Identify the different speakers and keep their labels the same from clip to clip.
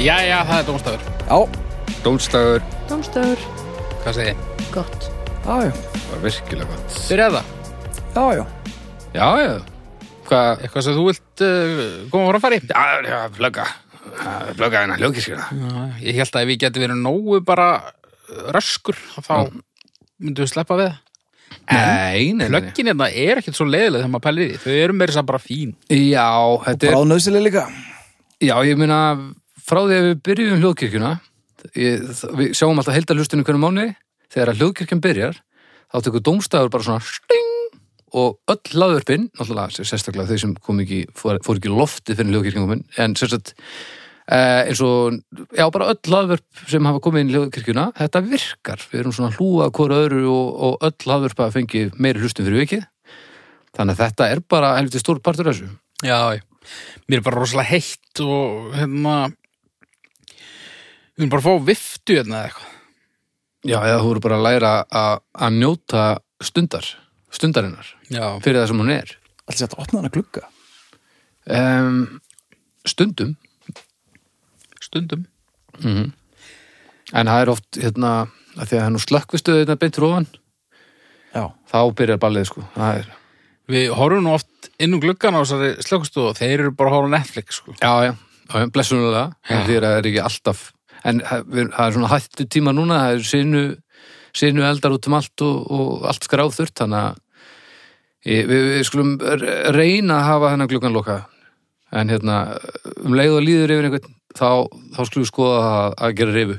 Speaker 1: Jæja, það er dómstafur.
Speaker 2: Já, dómstagur,
Speaker 3: Dómstöður.
Speaker 1: Hvað segir þið?
Speaker 3: Gott.
Speaker 2: já, já, var virkilega gott.
Speaker 1: Byrjað það.
Speaker 2: Já, já. Já, já, hvað,
Speaker 1: Eitthvað sem þú vilt uh, koma voru að fara í?
Speaker 2: já, já, flögga, Já, flögga hennar hljókiskina.
Speaker 1: hérna, Já, ég held að ef við getum verið nógu bara uh, röskur, þá myndum við sleppa við það.
Speaker 2: Nei, nei, nei.
Speaker 1: Plöggin hérna er ekkert svo leiðileg þegar maður pælir í því. Þau eru meira sem bara fín.
Speaker 2: Já, þetta er,
Speaker 4: Bráð nöðsileg líka
Speaker 2: já, ég meina, frá því að við byrjum hljókirkjuna, ég, þ- við sjáum alltaf heildarlustinu hvernig mánu, þegar að hljókirkjan byrjar, þá tekur dómstagur bara svona sting og öll laðvörpin, náttúrulega sér- sérstaklega þau sem kom ekki, fór, fór ekki í loftið fyrir hljókirkjum, en sérstaklega Eh, eins og, já, bara öll aðvörp sem hafa komið inn í hljóðkirkjuna, þetta virkar. Við erum svona að hlúa að hvora öðru og, og öll aðvörp að fengi meiri hlustum fyrir vikið. Þannig að þetta er bara helviti stór partur af þessu.
Speaker 1: Já, já. Mér er bara rosalega heitt og hérna... Við erum bara að fá viftu hérna eða eitthvað.
Speaker 2: Já, eða þú eru bara að læra að að njóta stundar, stundarinnar,
Speaker 1: Já.
Speaker 2: fyrir það sem hún er.
Speaker 4: Alltaf þetta opna hana glugga
Speaker 2: Um, stundum, Mhm.
Speaker 1: Stundum.
Speaker 2: en það er oft, hérna, að því að það er nú slökkvistuð hérna beintur ofan,
Speaker 4: Já,
Speaker 2: þá byrjar ballið, sko. Það er,
Speaker 1: Við horfum nú oft inn um gluggan á þessari slökkustofu og þeir eru bara að horfa á Netflix, sko.
Speaker 2: Já, já, já blessunulega, en því að það er ekki alltaf en það við- það er svona hættu tíma núna það er sinu, sinu eldar út um allt og, og allt skráð þurrt þannig að ég- við, við skulum r- reyna að hafa þennan gluggan loka en hérna um leið og líður yfir einhvern þá, þá skulum við skoða að, að gera rifu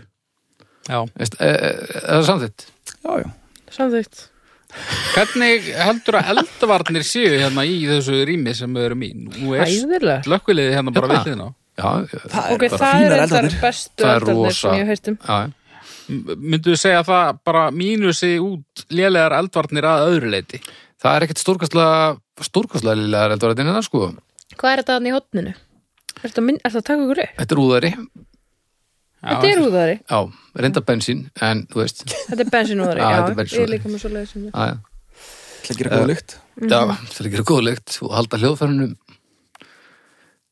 Speaker 1: Já.
Speaker 2: Veist, e, e, er það samþitt?
Speaker 4: já, já
Speaker 3: Samþýtt.
Speaker 1: Hvernig heldur að eldvarnir séu hérna í þessu rými sem við erum í? Nú er
Speaker 3: Æðilega.
Speaker 1: slökkviliði hérna bara
Speaker 2: Hérna.
Speaker 1: við hliðina. á.
Speaker 2: Já, já,
Speaker 4: Það
Speaker 3: Ok,
Speaker 4: eru bara
Speaker 3: það er
Speaker 4: fínar
Speaker 3: einn
Speaker 4: eldarnir
Speaker 3: þar bestu
Speaker 2: Það er
Speaker 3: eldarnir
Speaker 2: rosa.
Speaker 3: sem ég hef heyrt um.
Speaker 2: já.
Speaker 1: M- Myndu þið segja það bara mínusi út lélegar eldvarnir að öðru leiti?
Speaker 2: Það er ekkert stórkastlega stórkastlega liðlega eldvarðin en það sko
Speaker 3: Hvað er þetta hann í hotninu? Er þetta mynd- ertu að taka ykkur upp?
Speaker 2: Þetta er úðari,
Speaker 3: Þetta er úðari.
Speaker 2: já, reynda bensín en þú veist,
Speaker 3: Þetta er bensinúðari.
Speaker 2: Já,
Speaker 3: Já,
Speaker 2: þetta
Speaker 3: ég
Speaker 2: er
Speaker 3: er
Speaker 2: bensínúðari.
Speaker 3: líka með svo leiðis um það.
Speaker 2: já, já
Speaker 4: Það gerir góða lykt
Speaker 2: Já, það er að gera góðlegt og halda hljóðfærunum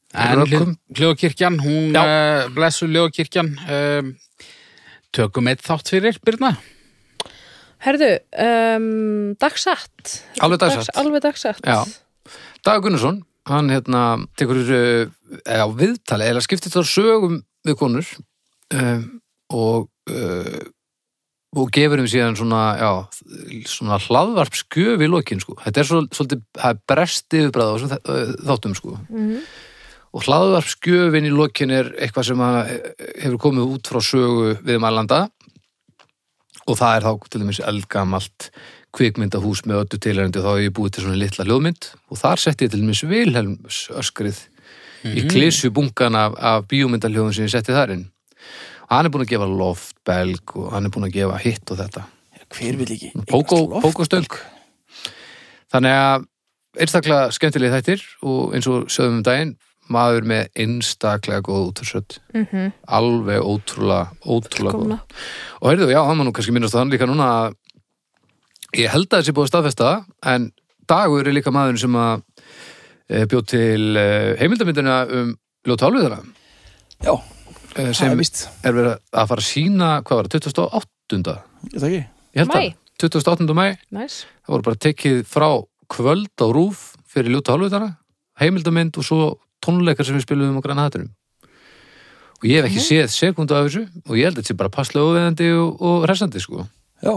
Speaker 1: En
Speaker 2: Rökum.
Speaker 1: hljóðkirkjan, hún
Speaker 2: Já.
Speaker 1: uh, blessu hljóðkirkjan um, tökum eitt þátt fyrir, Birna
Speaker 3: Herðu, um, dagsatt.
Speaker 2: Alveg dagsatt.
Speaker 3: Dags, alveg dagsatt.
Speaker 2: Já. Dag Gunnarsson, hann hérna tekur uh, á viðtali eða skiptir það sögum við konur um, og uh, og gefur um síðan svona, já, svona hlaðvarp skjöf í lokin, sko. Þetta er svo, svolítið, það er brest yfirbræð á þessum þa- eh, þáttum, sko.
Speaker 3: Mhm.
Speaker 2: Og hlaðvarp skjöfin í lokin er eitthvað sem að, eh, hefur komið út frá sögu við mælanda og það er þá til dæmis eldgamalt kvikmyndahús með öllu tilhærendi og þá hef ég búið til svona litla ljóðmynd og þar setti ég til dæmis Vilhelms öskrið í klísu bunkan af, af bíómyndaljóðum sem ég setti þar inn. Og hann er búin að gefa loftbelg og hann er búin að gefa hitt og þetta.
Speaker 4: Hver vil ekki?
Speaker 2: Pókó- Pókóstöng Þannig að einstaklega skemmtileg þættir og eins og sögum um daginn maður með einstaklega góð útfyrsöld
Speaker 3: Mhm.
Speaker 2: alveg ótrúlega, ótrúlega góð
Speaker 3: Komna.
Speaker 2: og heyrðu, já, hann var nú kannski minnast á hann líka núna að ég held að þessi búið að staðfesta það, en Dagur er líka maðurinn sem að e, bjóð til e, heimildamindina um Ljóta Álviðara
Speaker 4: Já,
Speaker 2: e,
Speaker 4: það
Speaker 2: sem
Speaker 4: er
Speaker 2: er,
Speaker 4: víst
Speaker 2: verið að fara að sína hvað var það, 28.
Speaker 4: Ég takk ég
Speaker 2: Ég held
Speaker 3: Maí.
Speaker 2: að 28. mæ
Speaker 3: Næs.
Speaker 2: það voru bara tekið frá kvöld á rúf fyrir ljóta hálfutara heimildamind og svo tónleikar sem við spilum um á græna hattinum og ég hef ekki séð sekundu af þessu og ég held að þetta sé bara passlega óveðandi og, og resandi sko
Speaker 4: Já,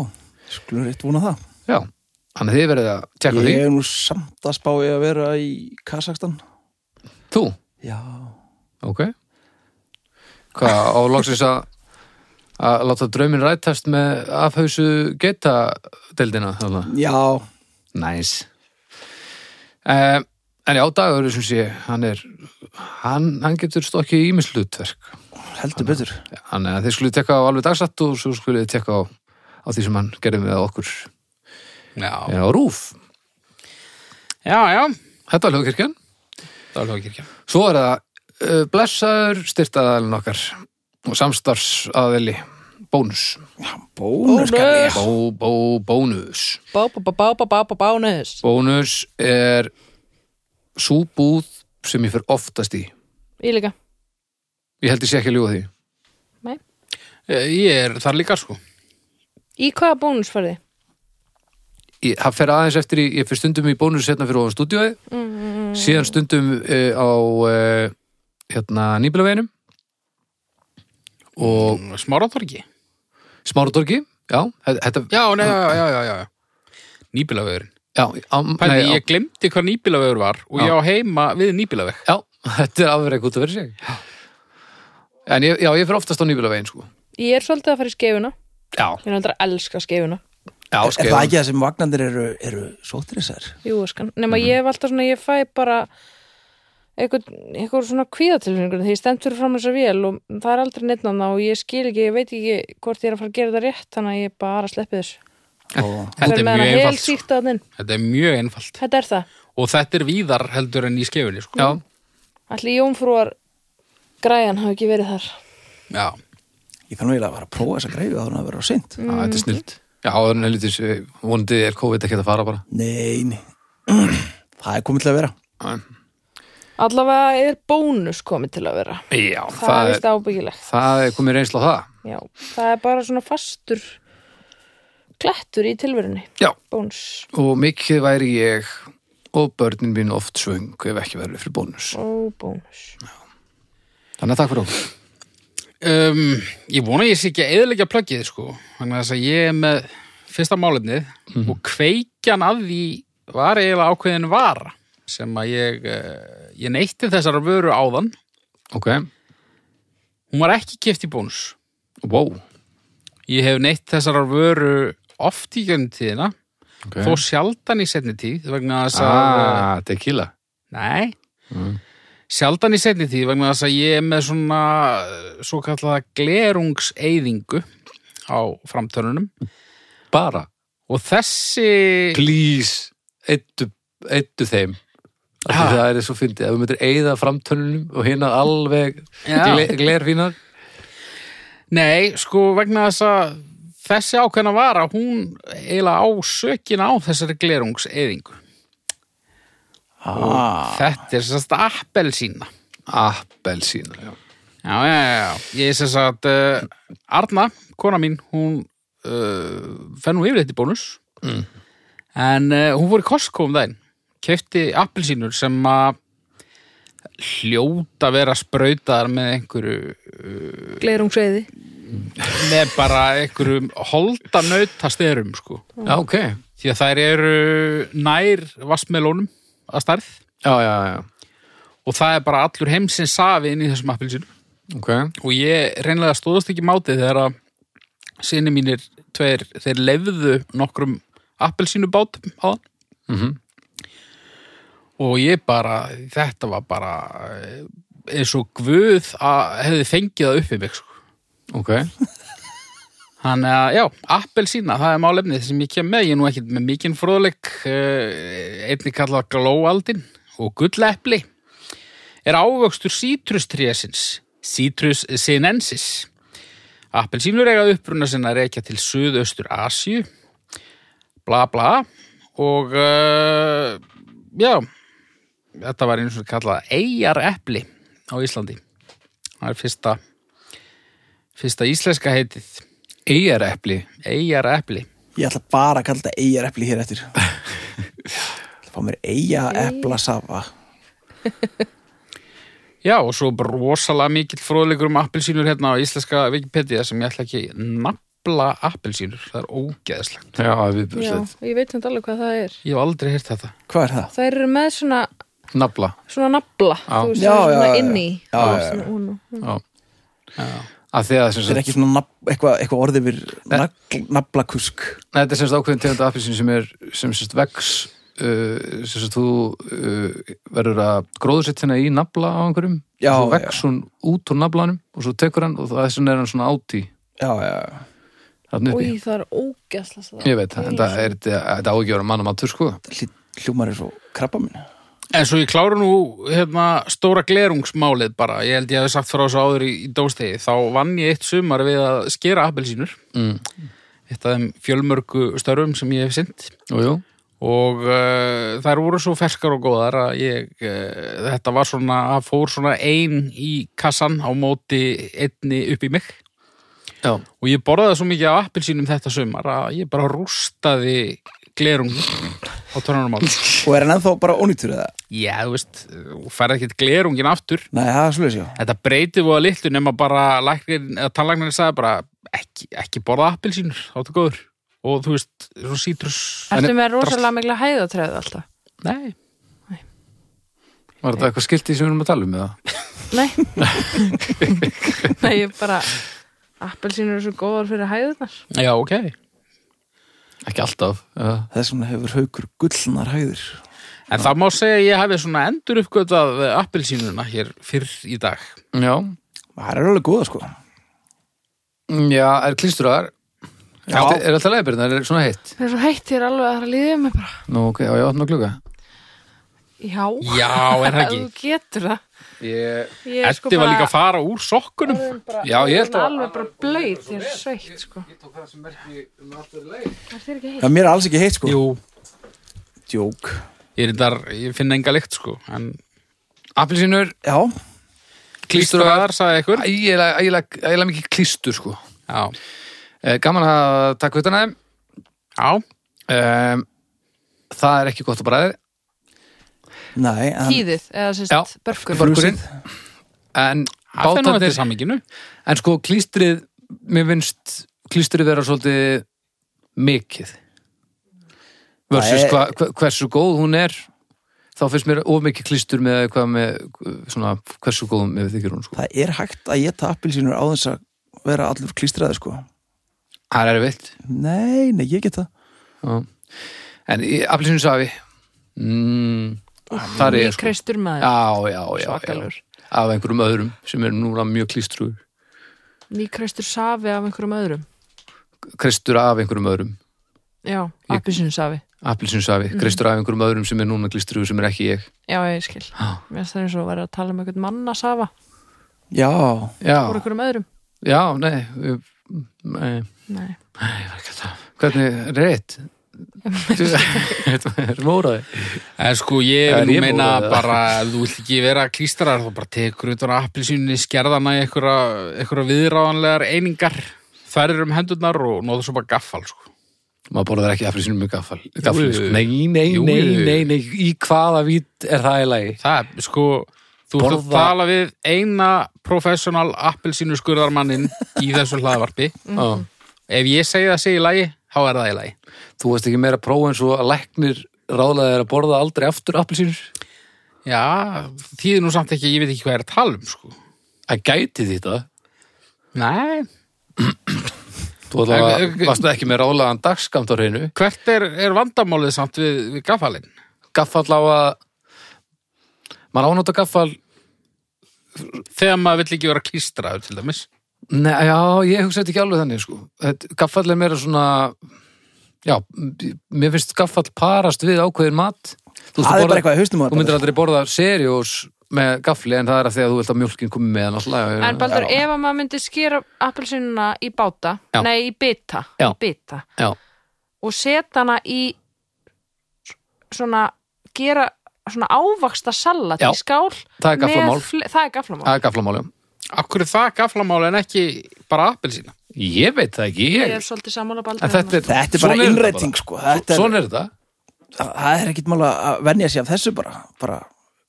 Speaker 4: skulum rétt vona það
Speaker 2: já, þannig að þið verið að tjekka
Speaker 4: Ég er nú samt að spá ég að vera í Kazakstan
Speaker 2: því þú,
Speaker 4: Já
Speaker 2: ok hvað á loksins að að láta draumin rætast með afhauðsu geta deildina þarna
Speaker 4: Já,
Speaker 2: Næs. Uh, en já, dagur, sem sé, hann er, hann, hann getur stokkið ímislutverk.
Speaker 4: heldur betur
Speaker 2: Þannig að þeir skulle tekka á alveg dagsatt og svo skulle þið tekka á, á því sem hann gerði með okkur
Speaker 1: Já,
Speaker 2: eh, á rúf.
Speaker 1: já, já.
Speaker 2: Þetta var hljóðkirkjan.
Speaker 1: það er hljóðkirkjan
Speaker 2: Svo er það uh, blessaður styrtaðalinn okkar og samstarfsaðeli bónus.
Speaker 4: Bónus kalli ég
Speaker 2: Bó, bó, bónus.
Speaker 3: Bá, bá, bá, bá, bá, bá, bá, bá, næs.
Speaker 2: Bónus er súbúð sem ég fer oftast í.
Speaker 3: Ég líka.
Speaker 2: Ég held ég sé ekki að ljúga því.
Speaker 3: Nei.
Speaker 1: Eh, Ég er þar líka sko
Speaker 3: Í hvaða bónus farið?
Speaker 2: Ég, það fer aðeins eftir í, ég fyrir stundum í bónus setna fyrir ofan stúdíói,
Speaker 1: Mm-hmm.
Speaker 2: síðan stundum uh, á uh, hérna nýbílaveginum og
Speaker 1: Mm, Smáratorgi
Speaker 2: smáratorgi, já, þetta,
Speaker 1: Já, nei, já, já, já, já, já. Nýbílavegurinn
Speaker 2: já, á,
Speaker 1: Pæli,
Speaker 2: nei, á,
Speaker 1: ég glemdi hvað nýbílavegur var og
Speaker 2: Já.
Speaker 1: ég á heima við nýbílaveg
Speaker 2: já, þetta er afverið út að vera sig. En ég, já, ég fyrir oftast á nýbílavegin, sko.
Speaker 3: Ég er svolítið að fara í skeifuna.
Speaker 2: Já,
Speaker 3: Ég er náttúrulega að elska skeifuna.
Speaker 2: já,
Speaker 4: Er
Speaker 2: skeið.
Speaker 4: það ekki það sem vagnandir eru, eru sótrissar?
Speaker 3: Jú, skan. Nefn að ég hef alltaf svona, ég fæ bara eitthvað, eitthvað svona kvíðatilfinningur þegar ég stend fyrir fram þessa vél og það er aldrei neitt annað og ég skil ekki, ég veit ekki hvort ég er að fara að gera þetta rétt, þannig að ég bara sleppi þessu.
Speaker 4: Og
Speaker 1: Þetta
Speaker 3: Fer
Speaker 1: er
Speaker 3: með
Speaker 1: mjög
Speaker 3: hana
Speaker 1: einfalt, sko.
Speaker 3: helsýkta þarna inn.
Speaker 1: Þetta er mjög einfalt
Speaker 3: Þetta er það.
Speaker 1: og þetta er víðar heldur en í skefinni sko.
Speaker 2: Já,
Speaker 3: Allir jómfrúar græjan hafa ekki verið þar.
Speaker 1: Já.
Speaker 4: ég þarf nú eiginlega að fara að prófa þessa greiðu að það vera á seint.
Speaker 2: já, þetta er snilt. Já, það er nefnilegtis, vonandi er COVID ekki að fara bara.
Speaker 4: Nei, nei. það er komið til að vera.
Speaker 3: Allavega er bónus komið til að vera.
Speaker 2: Já,
Speaker 3: Það,
Speaker 2: það
Speaker 3: er
Speaker 2: er,
Speaker 3: vist ábyggilegt.
Speaker 2: það er komið reynsla á það.
Speaker 3: Já, það er bara svona fastur klettur í tilverunni.
Speaker 2: Já.
Speaker 3: Bónus.
Speaker 2: og mikið væri ég og börnin mín oft svöng ef ekki verið fyrir bónus.
Speaker 3: Ó, bónus.
Speaker 2: Þannig að takk fyrir okkur.
Speaker 1: Um, ég vona ég sé ekki að eðilegja plöggið sko. þannig að þess að ég er með fyrsta málefnið og kveikjan að því var eiginlega ákveðin vara sem að ég eh, ég neytti þessar vöru áðan
Speaker 2: Ok,
Speaker 1: hún var ekki kipt í bónus
Speaker 2: wow.
Speaker 1: ég hef neytt þessar vöru oft í gegnum tíðina
Speaker 2: Okay.
Speaker 1: þó sjaldan í setni tíð vegna þess að eh,
Speaker 2: Ah, tequila.
Speaker 1: Nei Sjaldan í setni tíð vegna þess að ég er með svona eh, svo kallaða glerungseyðingu á framtörnunum
Speaker 2: Bara.
Speaker 1: og þessi
Speaker 2: Please, Ah. eittu, eittu þeim. Af því
Speaker 1: Ha.
Speaker 2: Það er svo fyndið. Ef við myndir eyða framtönunum og hérna alveg
Speaker 1: Já.
Speaker 2: gle, glerfínar.
Speaker 1: Nei, sko vegna þess að þessi ákveðna vara hún eiginlega á sökina á þessari glerungseyðingu
Speaker 4: Ah,
Speaker 1: Þetta er sérst appelsína
Speaker 2: Appelsína, já.
Speaker 1: Já, já, já, já. Ég er sérst að uh, Arna, kona mín hún uh, fer nú yfir þetta í bónus
Speaker 2: Mm.
Speaker 1: En uh, hún fór í Costco um daginn, kefti appelsínur sem að hljóta að vera sprautaðar með einhverju,
Speaker 3: Gleirungsveiði.
Speaker 1: með bara einhverjum holdanautastörum, sko.
Speaker 2: Já, ok.
Speaker 1: Því að þær eru nær vassmelónum að stærð
Speaker 2: Já, já, já.
Speaker 1: og það er bara allur heimsins safi inn í þessum appelsínum.
Speaker 2: Ok.
Speaker 1: Og ég reynlega stóðast ekki mátið þegar að sinni mínir tveir, þeir lefðu nokkrum appelsínubátum á þann.
Speaker 2: Mm
Speaker 1: og ég bara, þetta var bara eh, eins og guð að hefði fengið það uppi mig sko.
Speaker 2: Ok.
Speaker 1: þannig að já, appelsína, það er málefnið sem ég kem með, ég er nú ekkert með mikinn fróðleik eh, einnig kallað glóaldin og gullepli er ávöxtur sítrustríasins Citrus sinensis Appelsínur eiga uppruna sinna að rekja til Suðaustur Asíu bla bla og uh, já þetta var eins og kallað eigar epli á Íslandi það er fyrsta fyrsta íslenska heitið
Speaker 2: Eyjar epli.
Speaker 1: eigar epli
Speaker 4: ég ætla bara að kalla þetta eigarepli hér eftir. Ég ætla að fá mér eigarepla safa.
Speaker 1: já og svo bara rosalega mikill fróðleikur um appelsínur hérna á íslenska Wikipedia sem ég ætla ekki nafla appelsínur, það er ógeðslegt
Speaker 2: Já, við
Speaker 3: Já,
Speaker 2: búum slett.
Speaker 3: ég veit hann alveg hvað það er.
Speaker 1: ég hef aldrei heyrt þetta
Speaker 4: Hvað er það?
Speaker 3: Það eru með svona,
Speaker 2: Nafla.
Speaker 3: svona nafla,
Speaker 2: Já.
Speaker 3: þú veist,
Speaker 4: Já, já,
Speaker 3: svona
Speaker 4: já, já.
Speaker 3: inni.
Speaker 4: Já,
Speaker 3: Svona
Speaker 4: já, já.
Speaker 3: svona hún og-
Speaker 2: Já. Að því að sem
Speaker 4: Mm. Þetta er
Speaker 2: sagt-
Speaker 4: ekki svona nafn, eitthvað, eitthvað orðið við naflakusk.
Speaker 2: Nei, þetta er semst ákveðin tegund appelsín sem er sem semst vex uh, sem semst þú uh, verður að gróðsett hérna í nafla á einhverjum
Speaker 4: Já,
Speaker 2: og svo vex hún út úr naflanum og svo tekur hann og þess vegna er hann svona áti
Speaker 4: Já, já, já.
Speaker 2: hann uppi.
Speaker 3: Új, það er ógæsla það.
Speaker 2: Ég veit, en það er þetta þetta á ekki að vera mann og matur sko.
Speaker 4: Hlý- Hljómar er svo krabba minn.
Speaker 1: En svo ég klára nú hérna, stóra glerungsmálið bara, ég held ég hafi sagt frá þessu áður í, í dóstegi, þá vann ég eitt sumar við að skera appelsínur,
Speaker 2: Mm.
Speaker 1: eitt af þeim fjölmörgu störfum sem ég hef sinnt
Speaker 2: Jú, jú.
Speaker 1: og uh, þær voru svo ferskar og góðar að ég uh, þetta var svona, það fór svona ein í kassan á móti einni upp í mig
Speaker 2: Já.
Speaker 1: og ég borðaði svo mikið af appilsínum þetta sumar að ég bara rústaði glerung á törnunum átt
Speaker 4: Og er hann ennþá bara ónýttur eða?
Speaker 1: já, þú veist, þú færði ekkert glerungin aftur
Speaker 4: Nei, það er slúið sjá
Speaker 1: þetta breytið voða litlu nema bara læknir, eða tannlæknir sagði bara ekki, ekki borða appilsínur, áttu góður og þú veist, svona sítrus
Speaker 3: Ertu með rosalega mikla hæðatröð alltaf?
Speaker 1: nei,
Speaker 2: Var þetta eitthvað skilti sem við erum að tala um eða?
Speaker 3: Nei Nei, ég bara Appelsínur eru svo góðar fyrir hæðunar
Speaker 1: já, ok
Speaker 2: Ekki alltaf. eða?
Speaker 4: Þess vegna hefur haukur gullnar hæður
Speaker 1: en það má segja að ég hafi svona endur uppgötað appilsínuna hér fyrr í dag
Speaker 2: Já. Mm,
Speaker 4: Það er alveg góða sko
Speaker 2: Já, er klísturaðar?
Speaker 4: Já.
Speaker 2: Er er alltaf leiðbyrðin? Er svona heitt?
Speaker 3: Það er svo heitt, ég er alveg að það líðið mig bara
Speaker 2: Nú, ok, já, ég opna að gluga.
Speaker 3: Já,
Speaker 1: já, er það
Speaker 3: Ef
Speaker 1: ekki
Speaker 3: Þú getur það
Speaker 2: Ég...
Speaker 3: Ég er sko
Speaker 1: Eddi var líka að fara úr sokkunum
Speaker 3: bara
Speaker 2: Já, ég sko- held að-
Speaker 3: Alveg bara blöyt, ég er sveitt sko
Speaker 2: Ég tók það sem merki um allt verið leið.
Speaker 3: Það er ekki heitt
Speaker 4: Það er mér alls ekki heitt sko
Speaker 1: jú,
Speaker 4: Djók
Speaker 1: ég, reyndar, ég finna enga lykt sko en
Speaker 2: Appelsínur,
Speaker 4: Já,
Speaker 1: klístraðar, sagði ykkur
Speaker 2: ægilega, ægilega, ægilega mikið klístur, sko.
Speaker 1: já,
Speaker 2: Eh, Gaman að taka utan að þeim.
Speaker 1: já,
Speaker 2: Um, það er ekki gott að bræði.
Speaker 4: nei en,
Speaker 3: Tíðið, eða
Speaker 2: Já.
Speaker 3: sérst börkur
Speaker 2: Börkurinn. En
Speaker 1: það finnum þetta
Speaker 2: bátarnir...
Speaker 1: í samminginu
Speaker 2: En sko, klístrið, mér finnst klístrið vera svolítið mikið. Versus
Speaker 4: Það er-
Speaker 2: hva, hva, hversu góð hún er, þá finnst mér of mikið klístur með hvað með, svona, hversu góð mér þykir hún, sko.
Speaker 4: það er hægt að geta appilsínur á þess að vera allur klístraði sko
Speaker 2: Það er erfitt.
Speaker 4: Nei, nei, ég get það
Speaker 2: Já. En appelsinu safi, mm, þar er ég, sko.
Speaker 3: Kreistur maður,
Speaker 2: Já, já, já, já.
Speaker 3: svakalur
Speaker 2: Af einhverjum öðrum sem er núna mjög klístrugur.
Speaker 3: Nýkreistur safi af einhverjum öðrum
Speaker 2: Kristur af einhverjum öðrum.
Speaker 3: Já, appelsínu safi
Speaker 2: Appelsinu safi,
Speaker 1: Mhm.
Speaker 2: kristur af einhverjum öðrum sem er núna klístrugur sem er ekki ég.
Speaker 3: Já, ég skil
Speaker 2: Já.
Speaker 3: Mér finnst það eins og að vera að tala um einhvern manna safa
Speaker 4: Já,
Speaker 2: Já.
Speaker 3: úr einhverjum öðrum
Speaker 2: Já, nei, við- nei,
Speaker 3: Nei,
Speaker 2: nei, ég var ekki að tala. Hvernig, rétt? Þú er móraði.
Speaker 1: En sko ég
Speaker 2: Er
Speaker 1: vil nú
Speaker 2: ég
Speaker 1: meina
Speaker 2: múrið, eða?
Speaker 1: bara ef þú vilt ekki vera klístrar þá bara tekur utan að appilsýninni skerðana í einhverja einhverja viðráðanlegar einingar þær um hendurnar og nóður svo bara gaffal sko.
Speaker 2: Maður borðar ekki afrisinu með gaffal. gaffal
Speaker 1: Jú.
Speaker 2: sko. Nei, nei,
Speaker 1: Jú.
Speaker 2: nei, nei, nei, í hvaða vít er það í lagi?
Speaker 1: Það er sko þú ert að
Speaker 2: Borða-
Speaker 1: tala við eina professional appilsýnu skurðarmannin í þessu hlaðvarpi Mhm.
Speaker 2: Mm.
Speaker 1: ef ég segi það sé í lagi þá er það í lagi
Speaker 2: Þú veist ekki meira próf en svo að læknir ráðlega er að borða aldrei aftur appelsínur?
Speaker 1: Já, þýðir nú samt ekki ég veit ekki hvað er að tala um sko
Speaker 2: Það gæti því þetta.
Speaker 1: Nei,
Speaker 2: Þú
Speaker 1: Ok, ok.
Speaker 2: allavega varstu ekki með ráðlegan dagskamt á hreinu.
Speaker 1: hvert er, er vandamálið samt við, við gaffalinn?
Speaker 2: Gaffal á að... Maður ánóta gaffal...
Speaker 1: Þegar maður vill ekki vera klístraður til dæmis
Speaker 2: Nei, já, ég hugsa þetta ekki alveg þannig, sko. Þetta- Gaffall er meira svona, já, m- mér finnst gaffall parast við ákveðin mat. Þú,
Speaker 4: það er
Speaker 2: veist, þú
Speaker 4: bara
Speaker 2: borðar-
Speaker 4: eitthvað í haustum
Speaker 2: þú myndir aldrei borða seriós með gaffli, en það er að því að þú vilt að mjólkin komi með hann alltaf.
Speaker 3: en Baldur, ef að maður myndi skera appelsínuna í báta,
Speaker 2: Já.
Speaker 3: nei, í bita
Speaker 2: Já.
Speaker 3: í bita,
Speaker 2: Já,
Speaker 3: og setja hana í s- svona, gera svona ávaxta salat
Speaker 2: Já.
Speaker 3: í skál
Speaker 2: það er
Speaker 3: með
Speaker 2: gafflamál.
Speaker 3: fle- það er gaflamál
Speaker 2: Það er gafflamál, já.
Speaker 1: Akkur er það gaflamál en ekki bara appelsína?
Speaker 2: Ég veit það ekki,
Speaker 3: ég er
Speaker 2: ég...
Speaker 3: svolítið sammála Baldur um
Speaker 2: En þetta er,
Speaker 4: Þetta er
Speaker 2: svona
Speaker 4: bara
Speaker 2: þetta
Speaker 4: innræting sko Þetta er,
Speaker 2: Svona er þetta.
Speaker 4: Það er ekkit mála að venja sig af þessu bara bara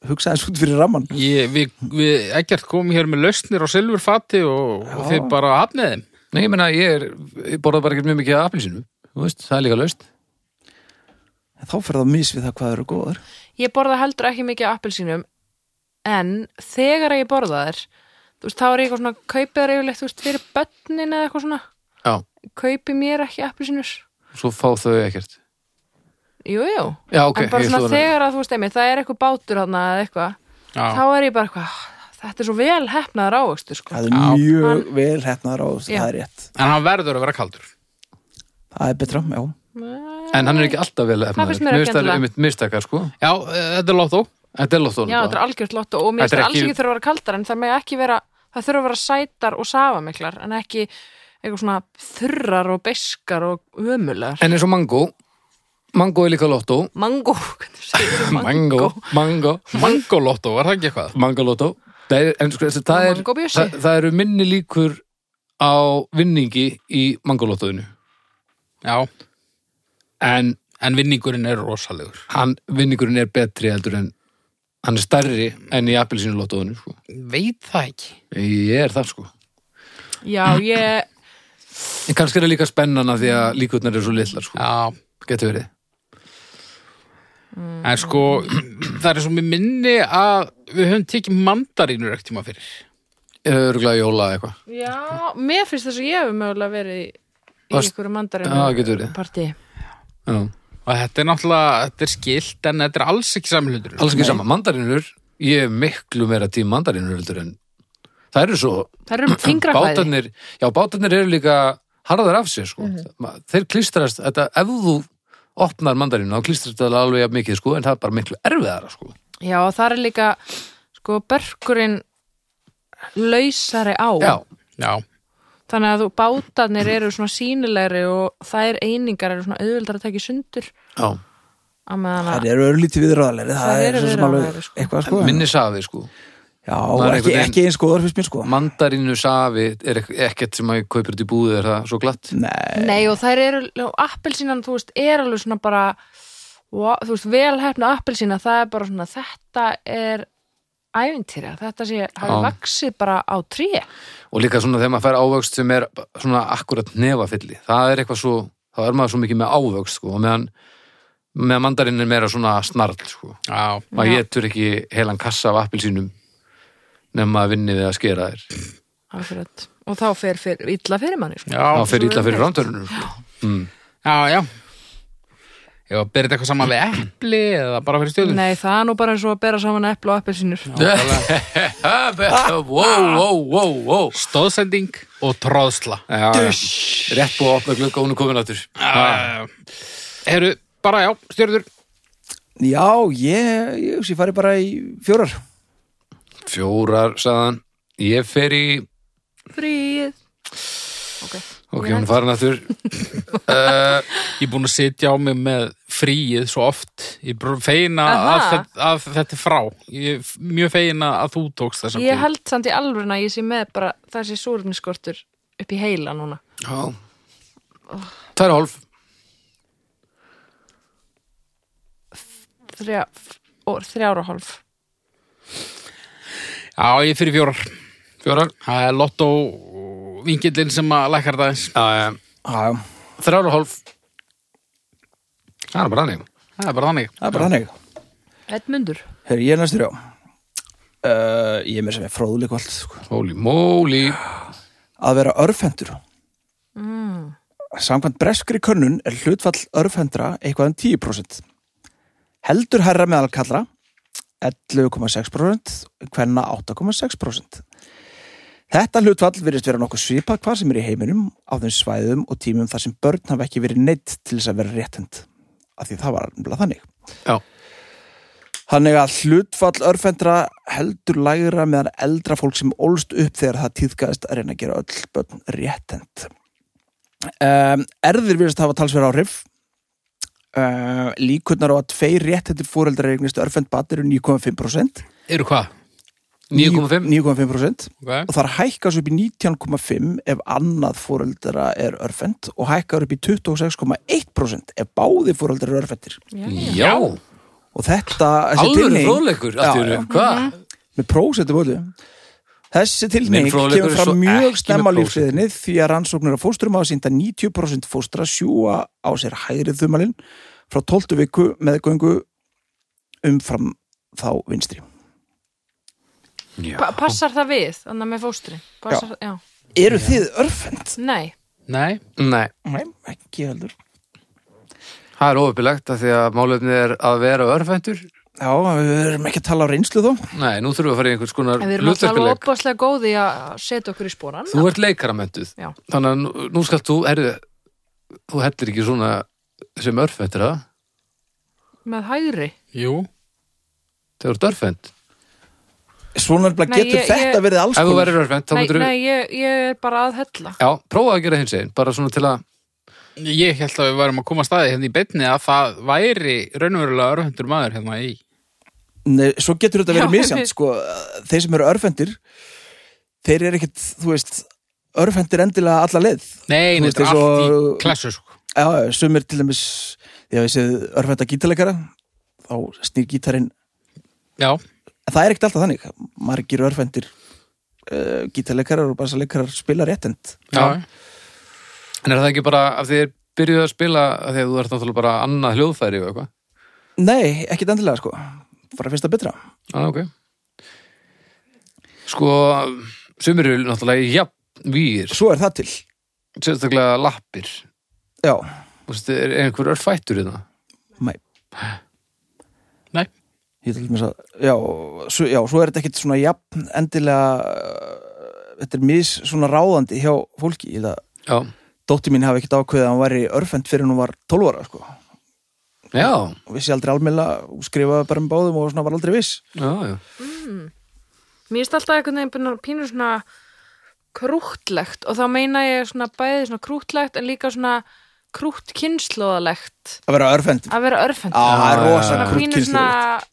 Speaker 4: hugsa þess út fyrir ramman
Speaker 1: Ég, við, við ekkert komum hér með lausnir og silfurfati og, og þið bara hafnið þeim.
Speaker 2: Nei, ég meina, ég, er, ég borða bara ekkert mjög mikið af appelsinu. Þú veist, það er líka löst.
Speaker 4: En þá fer það mis við það hvað eru góðar
Speaker 3: ég borða heldur ekki mikið af appelsínum en þegar að ég borða þær þú veist, þá er ég eitthvað svona kaupið þær yfirleitt, þú veist, fyrir börnin eða eitthvað svona
Speaker 2: Já,
Speaker 3: kaupi mér ekki appelsínur
Speaker 2: svo fá þau ekkert.
Speaker 3: Jú, jú,
Speaker 2: Já, ok.
Speaker 3: en bara
Speaker 2: ég
Speaker 3: svona
Speaker 2: slóðan-
Speaker 3: þegar að þú veist einmitt, það er eitthvað bátur hann eða eitthvað, þá
Speaker 1: Já.
Speaker 3: er ég bara eitthvað, "Ah, þetta er svo vel hefnaður ávöxtur, sko.
Speaker 4: Það er
Speaker 1: Já.
Speaker 4: mjög vel hefnaður á þessu
Speaker 3: Já.
Speaker 4: Það er rétt
Speaker 1: En hann verður að vera kaldur.
Speaker 4: Það er betra, já
Speaker 2: En hann er ekki alltaf vel efnaður.
Speaker 3: Það finnst mér ekki
Speaker 2: Það er
Speaker 3: endilega.
Speaker 2: einmitt mistakar, sko.
Speaker 1: Já, eh, þetta er lótt þó.
Speaker 2: Þetta er lóttónum.
Speaker 3: Já, þetta er algjört lott og mér
Speaker 2: Þetta er
Speaker 3: finnst alls
Speaker 2: ekki-
Speaker 3: ekki þurfa að vera kaldar, en það með ekki vera, það þurfa að vera sætar og safamiklar, en ekki eitthvað svona þurrar og beskar og ömulegar.
Speaker 2: En eins og mango, Mango er líka lottó.
Speaker 3: Mango, hvernig segir þú
Speaker 2: Mango. Mango.
Speaker 1: Mangolotto, var það ekki eitthvað?
Speaker 2: Mango lottó. Nei, en sko, þessi, það,
Speaker 3: Mango
Speaker 2: er,
Speaker 3: Bjössi.
Speaker 2: það, það eru minni líkur á vinningi í Mango lottóinu.
Speaker 1: Já,
Speaker 2: En
Speaker 1: en vinningurinn er rosalegur.
Speaker 2: hann, vinningurinn er betri heldur en hann er stærri enn í appelsínu lottóinu, sko.
Speaker 1: Veit það ekki.
Speaker 2: Ég er það, sko.
Speaker 3: Já, ég,
Speaker 2: En kannski er það líka spennana því að líkurnar eru svo litlar, sko.
Speaker 1: Já,
Speaker 2: Getur verið.
Speaker 1: en sko, það er svo mér minni að við höfum tekið mandarínur ekkert tíma fyrir.
Speaker 2: Örgulega jóla eða eitthvað.
Speaker 3: já, mér finnst þess að ég hefur mögulega verið í í
Speaker 2: Varst-
Speaker 3: einhverju
Speaker 2: Já, getur verið.
Speaker 3: mandarinu partí.
Speaker 2: Já.
Speaker 1: Og þetta er náttúrulega, þetta er skilt, en þetta er alls ekki samhundur.
Speaker 2: Alls ekki sama. Mandarinur, ég er miklu meira tím mandarinur heldur en það eru svo
Speaker 3: Það eru um fingrafæði.
Speaker 2: bátarnir, já, bátarnir eru líka harðar af sér, sko. Þeir klistrast, þetta, ef þú opnar mandarinu, þá klistrast það alveg jafn mikið, sko, en það er bara miklu erfiðara, sko.
Speaker 3: Já, og það er líka, sko, börkurinn lausari á.
Speaker 2: Já,
Speaker 1: Já,
Speaker 3: Þannig að þú bátarnir eru svona sínilegri og þær einingar eru svona auðvöldar að taka í sundur.
Speaker 2: já.
Speaker 3: Á meðan
Speaker 4: Það
Speaker 3: að,
Speaker 4: eru örlítið viðræðalegri, það, er
Speaker 3: Þær eru
Speaker 4: svo sem alveg
Speaker 3: viðráðanlegri, sko.
Speaker 4: eitthvað sko.
Speaker 2: Minni safi, sko.
Speaker 4: Já,
Speaker 2: Það er
Speaker 4: ekki,
Speaker 2: einhvern
Speaker 4: ekki eins góður fyrst mér sko.
Speaker 2: Mandarinu safi er ekk- ekkert sem að ég kaupir út í búðið, er það svo glatt?
Speaker 4: Nei,
Speaker 3: nei, og þær eru, og appelsínan, þú veist, er alveg svona bara, og, þú veist, velhæfna appelsína, það er bara svona, þetta er ævintýra, þetta sé, hafi
Speaker 2: Já.
Speaker 3: vaksið bara á tré.
Speaker 2: og líka svona þegar maður fær ávöxt sem er svona akkurat nefafylli það er eitthvað svo, þá er maður svo mikið með ávöxt sko, og meðan með mandarinn er meira svona snarl sko.
Speaker 1: já,
Speaker 2: maður getur ekki helan kassa af appilsínum nema að vinni við að skera þér
Speaker 3: Akkurat. Og þá fer, fer illa fyrir manni, sko.
Speaker 1: já.
Speaker 2: þá fyrir illa fyrir rándörunum sko.
Speaker 1: Já, já. Já, byrðið eitthvað saman við epli eða bara fyrir stjórnum?
Speaker 3: Nei, það er nú bara eins og að bera saman eplu og appelsínur.
Speaker 2: wow, wow, wow, wow
Speaker 1: Stóðsending og tróðsla.
Speaker 2: já, já. rétt búið að opna glugga og hún er komin áttur
Speaker 1: Ah. Eru, bara já, stjórnur.
Speaker 4: já, ég, ég, ég fari bara í fjórar.
Speaker 2: fjórar, sagðan ég fer í
Speaker 3: Fríð.
Speaker 2: ok, hún er farin áttur
Speaker 1: Ég er búin að sitja á mig með fríið svo oft. Ég er bara fegin að,
Speaker 3: Aha.
Speaker 1: að, þetta- að þetta er frá. Ég er mjög fegin að að þú tókst þess að
Speaker 3: Ég held samt í alvöruna að ég sé með bara þessi súrniskortur upp í heila núna.
Speaker 2: tæra hálf
Speaker 3: Þrjá, og þrjára hálf.
Speaker 1: Já, ég er fyrir fjórar.
Speaker 2: fjórar
Speaker 1: Það er lottó vingillin sem að lækkar það eins.
Speaker 2: já, já
Speaker 4: Já,
Speaker 2: þrjár og hálf það er bara hannig
Speaker 1: Það er bara þannig.
Speaker 4: það er bara þannig.
Speaker 3: Edmundur.
Speaker 4: Herri, ég er næstur já. Uh, ég er mér sem er fróðleik og allt sko.
Speaker 2: holy moly
Speaker 4: að vera örfendur samkvæmt breskri könnun er hlutfall örfendra eitthvað um 10% heldur herra meðal kallra 11,6% hvenna 8,6% Þetta hlutfall virðist vera nokkuð svipað hvað sem er í heiminum á þeim svæðum og tímum þar sem börn hafa ekki verið neitt til þess að vera réttend af því það var alveg þannig
Speaker 2: já,
Speaker 4: Þannig að hlutfall örfendra heldur lægra meðan eldra fólk sem ólst upp þegar það týðkaðist að reyna að gera öll börn réttend. Um, erðir virðast hafa talsverð áhrif. Um, líkurnar á að tveir réttendir fóreldrar eignist örfend bat eru 9,5%.
Speaker 1: Eru hvað?
Speaker 2: 9,5
Speaker 4: 9,5%
Speaker 1: Okay.
Speaker 4: og þar hækkar svo upp í 19,5 ef annað fóreldra er örfend og hækkar upp í 26,1% ef báði fóreldrar eru örfendir.
Speaker 2: já,
Speaker 4: Og þetta... þessi
Speaker 2: alvöru
Speaker 4: tilhneiging-
Speaker 2: fróðleikur allt í
Speaker 4: Já, já.
Speaker 2: einu. hvað?
Speaker 3: Mhm.
Speaker 4: með prósentum öllu þessi tilneik
Speaker 2: Minn fróðleikur
Speaker 4: kemur
Speaker 2: er svo
Speaker 4: fram
Speaker 2: ekki
Speaker 4: mjög
Speaker 2: með
Speaker 4: snemma á
Speaker 2: prósentu.
Speaker 4: lífsliðinni því að rannsóknir af fóstrum hafa sínt að 90% fóstra sjúa á sér hægrið þumalinn frá 12 viku með göngu umfram þá vinstri
Speaker 2: Já.
Speaker 3: Pa passar það við, þannig með fóstri? Passar, já.
Speaker 4: eru þið örfend?
Speaker 3: Nei.
Speaker 1: Nei,
Speaker 2: nei,
Speaker 4: Nei, ekki heldur
Speaker 2: það er óöpilegt að því að málefnið er að vera örfæntur
Speaker 4: Já, við erum ekki að tala á reynslu þó
Speaker 2: nei, nú þurfum við að fara í einhvers konar
Speaker 3: En við erum alltaf alveg
Speaker 2: hlutverkuleik
Speaker 3: opaslega góði að setja okkur í spóran.
Speaker 2: þú ert leikaramönduð
Speaker 3: Já.
Speaker 2: þannig að nú- nú skalt þú, herðu þú hellir ekki svona sem örfæntur að
Speaker 3: Með hægri.
Speaker 1: jú.
Speaker 2: þau eru örfænt
Speaker 4: Svona er bara
Speaker 3: Nei,
Speaker 4: getur
Speaker 3: ég-
Speaker 4: þetta
Speaker 3: ég-
Speaker 4: verið alls
Speaker 2: ef þú
Speaker 4: konar
Speaker 2: verður örfænt þá
Speaker 3: Nei,
Speaker 2: myndur
Speaker 3: nei ég, ég er bara að hella.
Speaker 2: Já, prófaðu að gera hins einn, bara svona til að
Speaker 1: Ég held að við varum að koma að staði hérna í beinni að það væri raunverulega örfundur maður hérna í
Speaker 4: Nei, svo getur þetta verið
Speaker 3: Já,
Speaker 4: misjant
Speaker 3: einmitt.
Speaker 4: sko. þeir sem eru örfendir þeir eru ekkit, þú veist örfendir endilega alla leið Þú
Speaker 1: Nei, nei,
Speaker 4: veist,
Speaker 1: þetta er
Speaker 4: eins
Speaker 1: allt í
Speaker 4: og-
Speaker 1: klassu sko.
Speaker 4: já, sum er til dæmis já, ég séð örfenda gítarleikara þá snýr gítarinn
Speaker 1: Já,
Speaker 4: en það er ekkit alltaf þannig, margir örfendir uh, gítarleikarar og bassaleikarar spila réttend
Speaker 1: já,
Speaker 2: Já. En er það ekki bara af því þeir byrjuðu að spila af því að þú ert náttúrulega bara annað hljóðfæri og eitthvað?
Speaker 4: nei, ekkit endilega sko bara finnst það betra
Speaker 2: Já, Ah, ok. Sko, sumir eru náttúrulega jafn vír,
Speaker 4: svo er það til,
Speaker 2: sérstaklega lappir.
Speaker 4: já,
Speaker 2: Þú veist, er einhver örfættur í það?
Speaker 4: mæ
Speaker 1: nei
Speaker 4: Ég til dæmis að, já, svo, já, svo er þetta ekkit svona jafn endilega uh, þetta er mis svona ráðandi hjá fólki, ég það
Speaker 2: Já.
Speaker 4: dóttir mín hafi ekkit ákveðið að hann væri örfend fyrir hún var 12 ára, sko og
Speaker 2: Já,
Speaker 4: vissi aldrei almela og skrifaði bara um báðum og svona var aldrei viss
Speaker 2: já, já.
Speaker 3: Mér erst alltaf einhvern veginn pínu- pínu svona krútlegt og þá meina ég svona bæði svona krútlegt en líka svona krútt kynnslóðalegt
Speaker 4: að vera örfend,
Speaker 3: að vera örfendur.
Speaker 4: á, það er
Speaker 2: já,
Speaker 4: rosa
Speaker 3: svona pínu
Speaker 4: krútkynslulegt
Speaker 3: svona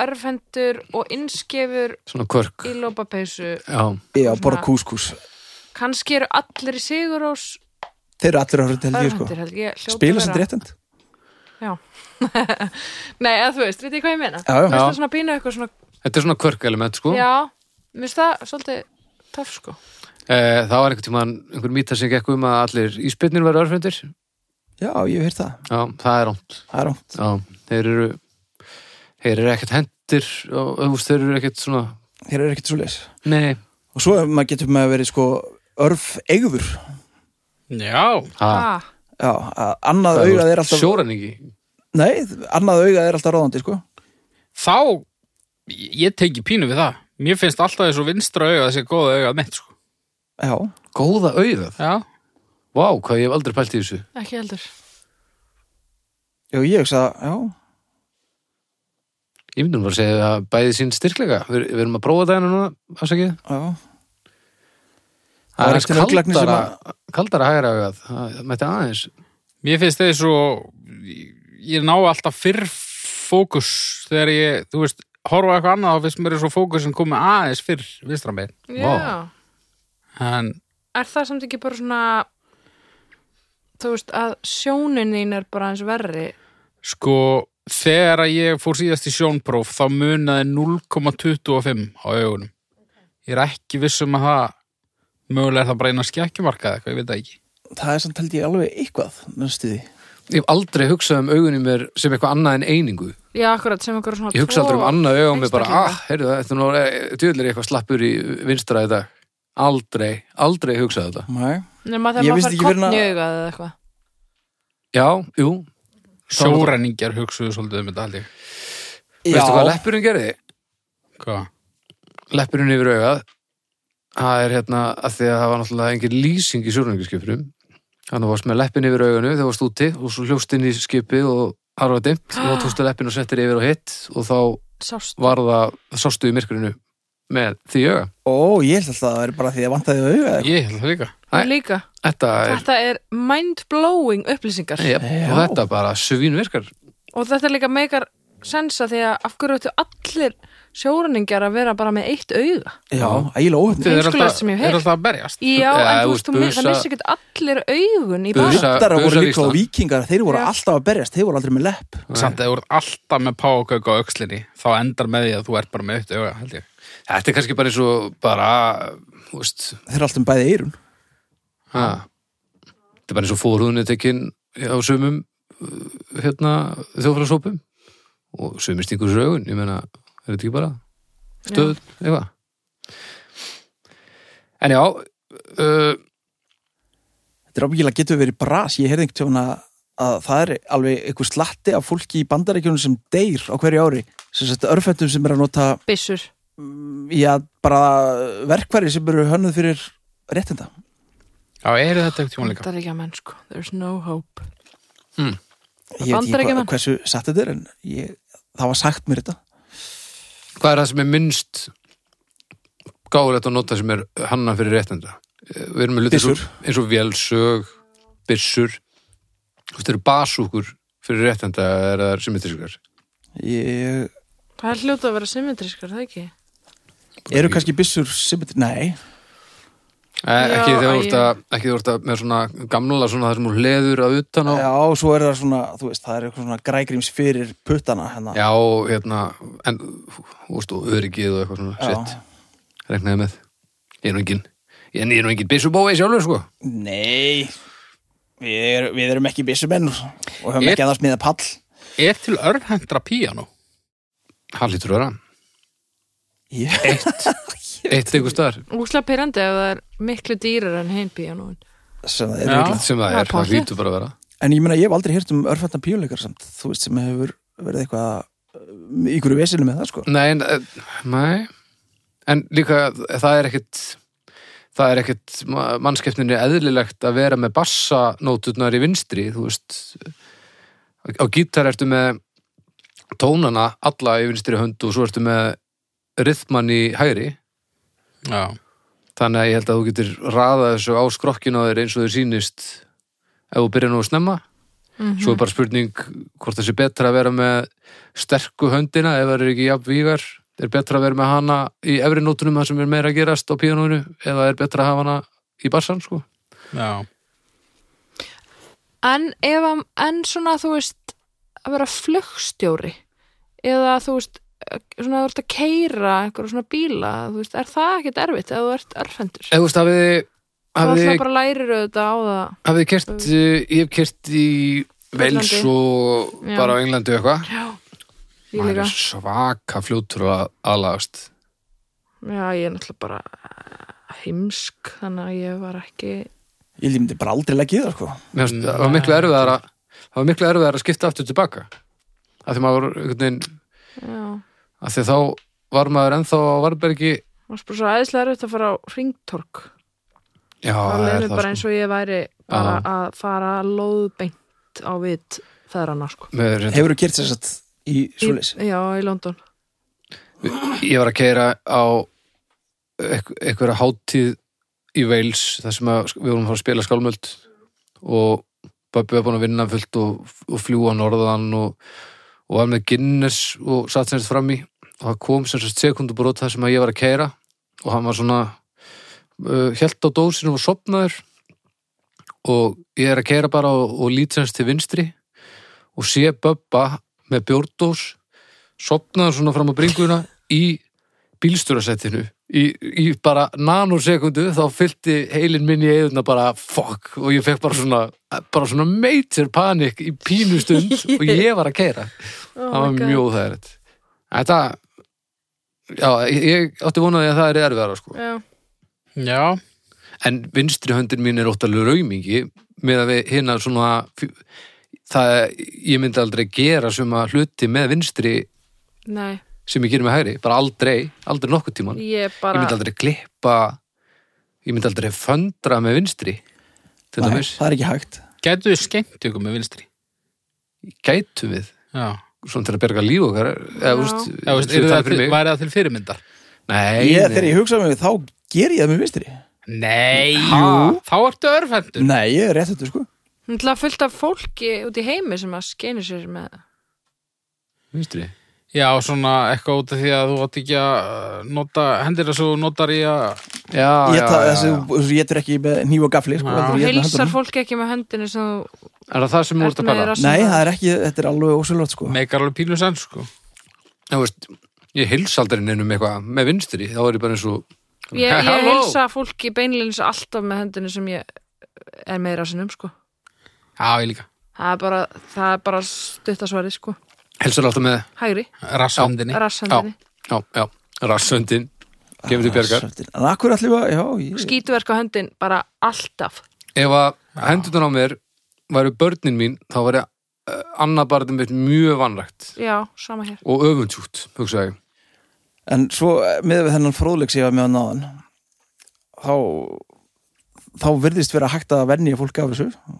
Speaker 3: örfendur og innskefur
Speaker 2: Svona kvörk.
Speaker 3: í lópapeysu.
Speaker 2: Já,
Speaker 4: já, bara kúskús,
Speaker 3: Kannski eru allir í Sigurós
Speaker 4: þeir eru allir örfend held ég,
Speaker 3: örfendur
Speaker 4: sko
Speaker 3: held ég. hljóta
Speaker 4: spila
Speaker 3: að
Speaker 4: sem
Speaker 3: vera.
Speaker 4: réttend,
Speaker 3: Já. Nei, að þú veist, veit ég hvað ég meina?
Speaker 4: já, já,
Speaker 3: Mér finnst það svona pínu eitthvað svona,
Speaker 2: þetta er svona kvörk element, sko.
Speaker 3: já, mér finnst það svolítið töff sko.
Speaker 2: Eh, það var einhvern tímann, einhver mýta sem gekk um að allir íspyrnir verður örfændir.
Speaker 4: já, ég hef heyrt það,
Speaker 2: Já, það er rámt.
Speaker 4: það er rámt
Speaker 2: Já, þeir eru, þeir eru ekkert hendir og þú veist, þeir eru ekkert svona,
Speaker 4: þeir eru ekkit svo leis
Speaker 2: nei,
Speaker 4: og svo maður getur maður verið, sko, örf eigður,
Speaker 1: Já,
Speaker 2: ha,
Speaker 3: Ah,
Speaker 4: já, að annað augað er alltaf
Speaker 2: sjóræningi.
Speaker 4: Nei, annað augað er alltaf ráðandi, sko.
Speaker 1: þá ég tengi pínu við það Mér finnst alltaf þessu vinstra auga þessi góða auga mitt sko.
Speaker 4: Já,
Speaker 2: Góða auðað.
Speaker 1: Já,
Speaker 2: Vá, hvað ég hef aldrei pælt í þessu.
Speaker 3: ekki heldur.
Speaker 4: já ég hugsa, já,
Speaker 2: Ég myndum bara að segja að bæði sín styrkleika. Við, við erum að prófa það hérna núna, afsakið.
Speaker 4: já.
Speaker 2: Það
Speaker 4: var einhvern
Speaker 2: er aðeins
Speaker 4: augnlæknir sem
Speaker 2: kaldara, kaldara hægra augað. Það það mætti aðeins.
Speaker 1: mér finnst þessu ég ná alltaf fyrr fókus þegar ég, þú veist horfa á eitthvað annað þá finnst mér þessu fókusin komið aðeins fyrr vinstra megin
Speaker 3: Já.
Speaker 2: Vá.
Speaker 1: en
Speaker 3: er það samt ekki bara svona þú veist að sjónin þín er bara eins verri
Speaker 1: Sko, þegar að ég fór síðast í sjónpróf þá munaði 0,25 á augunum. Ég er ekki viss um að það mögulega er það bara eina skekkjumarka eða eitthvað, ég veit það ekki.
Speaker 4: Það er samt held ég alveg eitthvað, næstu því.
Speaker 2: Ég hef aldrei hugsað um augunum mér sem eitthvað annað en einingu.
Speaker 3: já, akkurat, sem okkur svona
Speaker 2: Ég hugsa aldrei um
Speaker 3: tvo
Speaker 2: annað augum mér bara,
Speaker 3: einstaklinga.
Speaker 2: ah, heyrðu það, þetta er nú eh, djöfull er ég eitthvað slappur í vinstra í dag. Aldrei, aldrei hugsað þetta.
Speaker 4: Nei.
Speaker 3: nema
Speaker 4: Ég
Speaker 3: þegar maður
Speaker 4: vissi
Speaker 3: fær
Speaker 4: ekki fyrr en að-
Speaker 3: kottnjöga eða eitthvað
Speaker 2: Já, jú,
Speaker 1: Sjóræningjar hugsuðu svolítið um þetta held ég.
Speaker 2: veistu hvað leppurinn gerði?
Speaker 1: Hvað?
Speaker 2: leppurinn yfir augað það er hérna að því að það var náttúrulega engin lýsing í sjórningaskipurum þannig að varst með leppin yfir auganu þegar varst úti og svo hljóst inn í skipið og það var dimmt og þá tókstu leppin og settir yfir og hitt og þá
Speaker 3: sást
Speaker 2: var það, það sástu í myrkurinu með því auga
Speaker 4: Ó, ég held alltaf að það er bara því að vantaði þau augað.
Speaker 1: Ég held það líka.
Speaker 2: Nei.
Speaker 3: líka
Speaker 2: þetta er,
Speaker 3: þetta er mind-blowing upplýsingar
Speaker 2: jep, og
Speaker 4: Já.
Speaker 2: þetta bara svín virkar
Speaker 3: og þetta líka meikar sensa því að af hverju ættu allir sjóræningjar að vera bara með eitt auga
Speaker 4: Já, ægilega óhefni.
Speaker 1: Þið
Speaker 3: Heimskulegast sem ég hef
Speaker 1: er
Speaker 3: heyrt.
Speaker 1: alltaf að berjast.
Speaker 3: já,
Speaker 2: Já,
Speaker 3: en
Speaker 2: þú
Speaker 3: þú veist,
Speaker 2: veist,
Speaker 3: þú mi- það
Speaker 2: busa-
Speaker 3: missi ekkert allir augun í
Speaker 2: Busa-
Speaker 3: bara
Speaker 4: Buttara voru
Speaker 2: Busar
Speaker 4: líka
Speaker 2: Ísland.
Speaker 4: og vikingar, þeir voru
Speaker 3: Já.
Speaker 4: alltaf að berjast, þeir voru aldrei með lepp.
Speaker 1: Samt að þú ert alltaf með pákauk á aukslinni, þá endar með því að þú ert bara með aukt auga, held ég.
Speaker 2: þetta er kannski bara eins og bara þú veist,
Speaker 4: Þeir eru alltaf með bæði eyrun.
Speaker 2: ha, þetta er bara eins og fórhúðinu tekin á sumum uh, hérna, þjóflagsópum og sumir stingur þessu augun ég meina, er þetta ekki bara stöð, eitthvað en já uh,
Speaker 4: Þetta er ábyggilega getur verið bras. Ég heyrði einhvern tjóna að það er alveg einhver slatti af fólki í bandaríkjunum sem deyr á hverju ári. Sem sagt, örfættum sem er að nota, mm,
Speaker 3: byssur
Speaker 4: já, bara verkværi sem eru hönnuð fyrir réttinda.
Speaker 1: Já, eru þetta aukt tjóma líka?
Speaker 3: bandar ekki að menn sko, there's no hope
Speaker 4: Ég veit ekki
Speaker 3: Bandaríkjamenn.
Speaker 4: hvað, hversu satt þetta er, en ég, það var sagt mér þetta.
Speaker 2: hvað er það sem er minnst gáðulegt að nota sem er Uh, hanna fyrir réttenda Eh, við erum með luti
Speaker 4: Byssur.
Speaker 2: eins og vélsög byssur, Þú veist, eru basúkur fyrir réttenda eða eru það symmetrískar?
Speaker 4: Ég,
Speaker 3: Það er hljóta að vera symmetrískar, það ekki?
Speaker 4: eru kannski byssur symmetri? Nei,
Speaker 2: Eh,
Speaker 3: Já,
Speaker 2: ekki þegar þú
Speaker 3: ég-
Speaker 2: ert að, ekki þegar þú ert að með svona gamla, svona þar sem hún leður að utan á.
Speaker 4: já, svo er það svona, þú veist, það er eitthvað svona grægrims fyrir puttana hérna.
Speaker 2: Já, og hérna, en, þú veist, og öryggið og eitthvað svona,
Speaker 4: Já.
Speaker 2: sitt, regnaði með. Ég er nú engin, en ég er nú engin byssubói sjálfur, sko.
Speaker 4: Nei, við, er, við erum ekki byssumenn og höfum
Speaker 1: Ég-
Speaker 4: ekki að það smiða pall.
Speaker 1: Er til örhendra píanó?
Speaker 2: Hann lítur að vera.
Speaker 4: Ég,
Speaker 2: Eitt einhver staðar
Speaker 3: Úsla pyrrandi ef það er miklu dýrar en hinn píanóin.
Speaker 4: sem það er
Speaker 1: Já.
Speaker 4: örugglega.
Speaker 2: sem það
Speaker 3: Já,
Speaker 2: er, það
Speaker 3: pottþétt.
Speaker 2: lítur bara að vera.
Speaker 4: En ég meina, ég hef aldrei hýrt um örfættan píuleikar samt, þú veist, sem hefur verið eitthvað um, í hverju vesinu með það, sko.
Speaker 2: Nei, en, eh, nei, en líka það er ekkit það er ekkit ma- mannskepninni eðlilegt að vera með bassanóturnar í vinstri, þú veist á gítar ertu með tónana alla í vinstri hönd og svo ertu með rithman í hægri
Speaker 1: Já.
Speaker 2: þannig að ég held að þú getur raðað þessu á skrokkinu á þér eins og þau sýnist ef þú byrjar nú að snemma
Speaker 3: Mhm.
Speaker 2: svo er bara spurning hvort það sé betra að vera með sterku höndina ef það er ekki jafn vígar er betra að vera með hana í efri nótunum það sem er meira að gerast á píanóinu eða er betra að hafa hana í bassan sko
Speaker 1: Já.
Speaker 3: En ef hann, en svona þú veist, að vera flugstjóri eða þú veist, svona þú ert að keira einhverja svona bíla, þú veist, er það ekkert erfitt ef þú ert örfendur?
Speaker 2: eða þú veist hafið þið-
Speaker 3: Það
Speaker 2: hafið
Speaker 3: alltaf
Speaker 2: þið-
Speaker 3: bara lærir auðvitað á það.
Speaker 2: hafið þið kert ég hef kert í Vels
Speaker 3: Englandi.
Speaker 2: og
Speaker 3: Já.
Speaker 2: bara á Englandi og eitthvað
Speaker 3: Já, ég
Speaker 2: maður
Speaker 3: líka.
Speaker 2: er svaka fljótur að aðlagast
Speaker 3: Já, ég er náttúrulega bara eh, heimsk, þannig að ég var ekki...
Speaker 4: Ég held ég myndi bara aldrei leggja í það, sko.
Speaker 2: Mér finnst- það var miklu erfiðar að það var miklu erfiðar að skipta aftur tilbaka að því maður einhvern veginn
Speaker 3: Já,
Speaker 2: að því þá var maður ennþá á varbergi
Speaker 3: það var bara svo æðislega erfitt að fara á ringtork.
Speaker 2: já,
Speaker 3: Það
Speaker 2: það
Speaker 3: leið
Speaker 2: er
Speaker 3: mér
Speaker 2: það
Speaker 3: bara eins
Speaker 2: sko.
Speaker 3: og ég væri bara að fara lóðbeint á við feðrana, sko.
Speaker 2: Mér er reyndar-
Speaker 4: Hefur þú kýrt þess að í svoleiðis?
Speaker 3: Í, já, í London.
Speaker 2: ég var að keira á eik- einhverja hátíð í Wales þar sem að, við vorum að fara að spila skálmöld og Böbbi var búin að vinna fullt og, og fljúa norðan og, og var með Guinness og satt sem þetta fram í og það kom sem sagt sekundubrót þar sem að ég var að keira og hann var svona uh, hjælt á dósinu og sopnaður og ég er að keira bara og, og lít sem sagt til vinstri og sé Böbba með bjórdós sopnaður svona fram á bringuna í bílstjórasettinu í, í bara nanosekundu þá fyllti heilin minn í eðuna bara fuck og ég fekk bara svona bara svona meitir panik í pínustund og ég var að keira
Speaker 3: Oh
Speaker 2: það var mjög þærið þetta já, ég- ég átti vonaði að það er erfiðara sko.
Speaker 3: Já,
Speaker 1: Já.
Speaker 2: en vinstri höndin mín er óttalegu raumingi með að við hinna svona fj- það ég myndi aldrei gera suma hluti með vinstri
Speaker 3: nei,
Speaker 2: sem ég gerir með hægri, bara aldrei aldrei nokkuð tíman,
Speaker 3: ég
Speaker 2: ég
Speaker 3: bara
Speaker 2: myndi aldrei klippa ég myndi aldrei föndra með vinstri til
Speaker 4: Nei,
Speaker 2: dæmis,
Speaker 4: það er ekki hægt.
Speaker 1: Gætu við skemmt ykkur með vinstri?
Speaker 2: gætum við
Speaker 1: Já.
Speaker 2: svona til að berga líf okkar eða,
Speaker 3: Já.
Speaker 2: úst,
Speaker 1: Já, veist,
Speaker 2: það
Speaker 1: er
Speaker 2: er
Speaker 1: það
Speaker 2: fyrir
Speaker 1: til,
Speaker 2: mig
Speaker 1: væri það til fyrirmyndar?
Speaker 2: nei,
Speaker 4: Ég,
Speaker 2: nei.
Speaker 4: þegar ég hugsa um mig, þá ger ég það með vinstri.
Speaker 1: Nei, þá ertu örfendur.
Speaker 4: Nei, ég er rétt þetta, sko.
Speaker 3: Náttúrulega fullt af fólki út í heimi sem að skeinu sér með
Speaker 2: vinstri
Speaker 1: Já, svona eitthvað út af því að þú átt ekki að uh, nota, hendir þessu notar í að...
Speaker 4: Ég
Speaker 2: já, Ah,
Speaker 4: það,
Speaker 2: já, já,
Speaker 4: þessi,
Speaker 2: já.
Speaker 4: þessi, ég er ekki með nýf og gafli, sko.
Speaker 1: Já.
Speaker 4: heldur
Speaker 3: og
Speaker 4: ég er með
Speaker 3: heilsar
Speaker 4: höndunum.
Speaker 3: fólki ekki með hendinu sem þú
Speaker 2: er það það sem þú ert
Speaker 3: ert
Speaker 2: að
Speaker 3: með
Speaker 2: pæla
Speaker 4: Nei, það er ekki, þetta er alveg ósvöld, sko.
Speaker 1: Meikar alveg pínu senn, sko.
Speaker 2: Nei, veist, ég heils aldrei neinum eitthvað með vinstri, þá er ég bara eins og
Speaker 3: Ég, ég
Speaker 2: Halló.
Speaker 3: heilsa fólki beinleins alltaf með hendinu sem ég er meira sinnum sko
Speaker 1: Já, ég líka.
Speaker 3: Það er bara, það er bara stuttasvarið sko
Speaker 2: heilsar alltaf með,
Speaker 3: Hægri,
Speaker 1: Rasshendinni.
Speaker 3: rasshendinni
Speaker 2: já, já, rassöndin kemur til bjargar
Speaker 4: Svöldin. Ah, En akkur allir var, já, ég,
Speaker 3: Skítverk á höndin, bara alltaf
Speaker 2: ef að hendurnar á mér væru börnin mín, þá væri uh, annað barnið mitt mjög vanrægt
Speaker 3: Já, sama hér
Speaker 2: og öfundsjúkt, hugsa ég
Speaker 4: en svo eh, með við þennan fróðleik sem ég var með að náðan, þá, þá virðist vera hægt að venja fólk af þessu.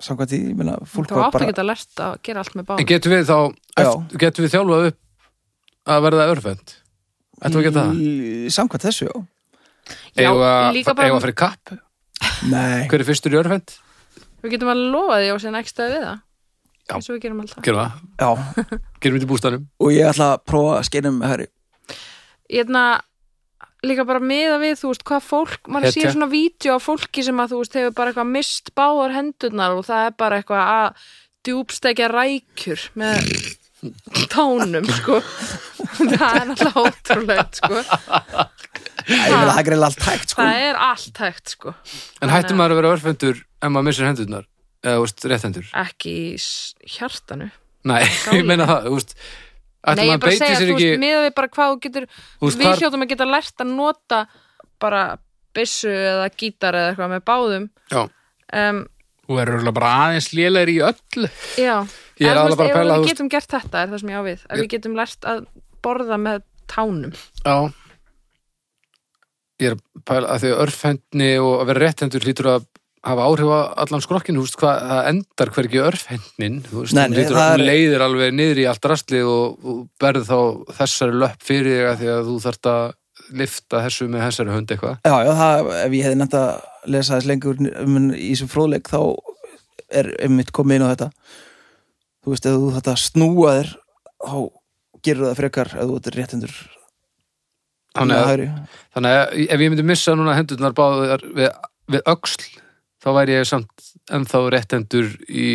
Speaker 4: Samkvæmt því, ég meina, fólk
Speaker 3: Þú
Speaker 4: var
Speaker 3: átt
Speaker 4: bara...
Speaker 3: ekki að lert að gera allt með
Speaker 2: en
Speaker 3: báð
Speaker 2: getum við þá,
Speaker 4: Já.
Speaker 2: getum við þjálfað upp að verða örfend ættum við að geta það?
Speaker 4: Í- Samkvæmt þessu, já.
Speaker 3: Mm, Já,
Speaker 2: Eigum við að-
Speaker 3: líka
Speaker 2: eigum við
Speaker 3: bara
Speaker 2: að fyrir kapp?
Speaker 4: Nei,
Speaker 2: Hver er fyrstur í örfend?
Speaker 3: Við getum alveg lofað því á síðan ekki staði við það.
Speaker 2: Já.
Speaker 3: Eins og við gerum alltaf.
Speaker 2: Gerum það,
Speaker 4: Já,
Speaker 2: gerum þetta í bústæðanum
Speaker 4: og ég ætla að prófa að skeinum herri.
Speaker 3: Ég hefna hérna, líka bara miða við, þú veist, hvað fólk, maður
Speaker 2: Hetja.
Speaker 3: sér svona vídeo á fólki sem að þú veist hefur bara eitthvað mist báðar hendurnar og það er bara eitthvað að djúbstekja rækjur með tánum, sko. það er náttúrulega ótrúlegt, sko.
Speaker 4: Æ, ég meina, það er greið allt hægt, sko.
Speaker 3: Það er allt hægt, sko.
Speaker 2: En hættum maður að vera örfendur ef maður missir hendurnar eða, þú veist, rétthendur
Speaker 3: Ekki í s- hjartanu.
Speaker 2: Nei, ég meina það, þú veist
Speaker 3: Nei, ég
Speaker 2: Ætlum maður
Speaker 3: er bara að
Speaker 2: beiti
Speaker 3: segja,
Speaker 2: sér
Speaker 3: þú veist,
Speaker 2: ekki
Speaker 3: miða við bara hvað þú getur
Speaker 2: veist,
Speaker 3: við
Speaker 2: hvar-
Speaker 3: hljótum að geta lært að nota bara byssu eða gítar eða eitthvað með báðum
Speaker 2: Já,
Speaker 3: um,
Speaker 1: Þú verður örugglega bara aðeins lélegri í öllu.
Speaker 3: Já,
Speaker 2: Ég er
Speaker 3: En þú
Speaker 2: aðallega
Speaker 3: veist,
Speaker 2: bara að
Speaker 3: ef
Speaker 2: pæla, þú
Speaker 3: Við
Speaker 2: veist-
Speaker 3: getum gert þetta, er það sem ég á við að við getum lært að borða með tánum
Speaker 2: já Ég er að pæla að því að örfendni og að vera rétthendur hlýtur að hafa áhrif á allan skrokkinu, þú veist hvað, það endar hvergi örfendnin, þú veist,
Speaker 4: Nei,
Speaker 2: hún
Speaker 4: nei,
Speaker 2: hlýtur
Speaker 4: það
Speaker 2: að
Speaker 4: er-
Speaker 2: hún leiðir alveg niður í allt rastlið og, og berð þá þessari löpp fyrir þig að því að þú þarft að lifta þessu með þessari hund eitthvað
Speaker 4: Já, já, það, ef ég hefði nefnt að lesa þess lengur um hann í þessum fróðleik, þá er einmitt komið inn á þetta. Þú veist, ef þú þetta snúa þér, þá gerur það frekar ef þú þetta er réttendur.
Speaker 2: Þannig að
Speaker 4: hægri.
Speaker 2: Þannig að ef ég myndi missa núna hendurnar báðar við, við öxl þá væri ég samt ennþá réttendur í,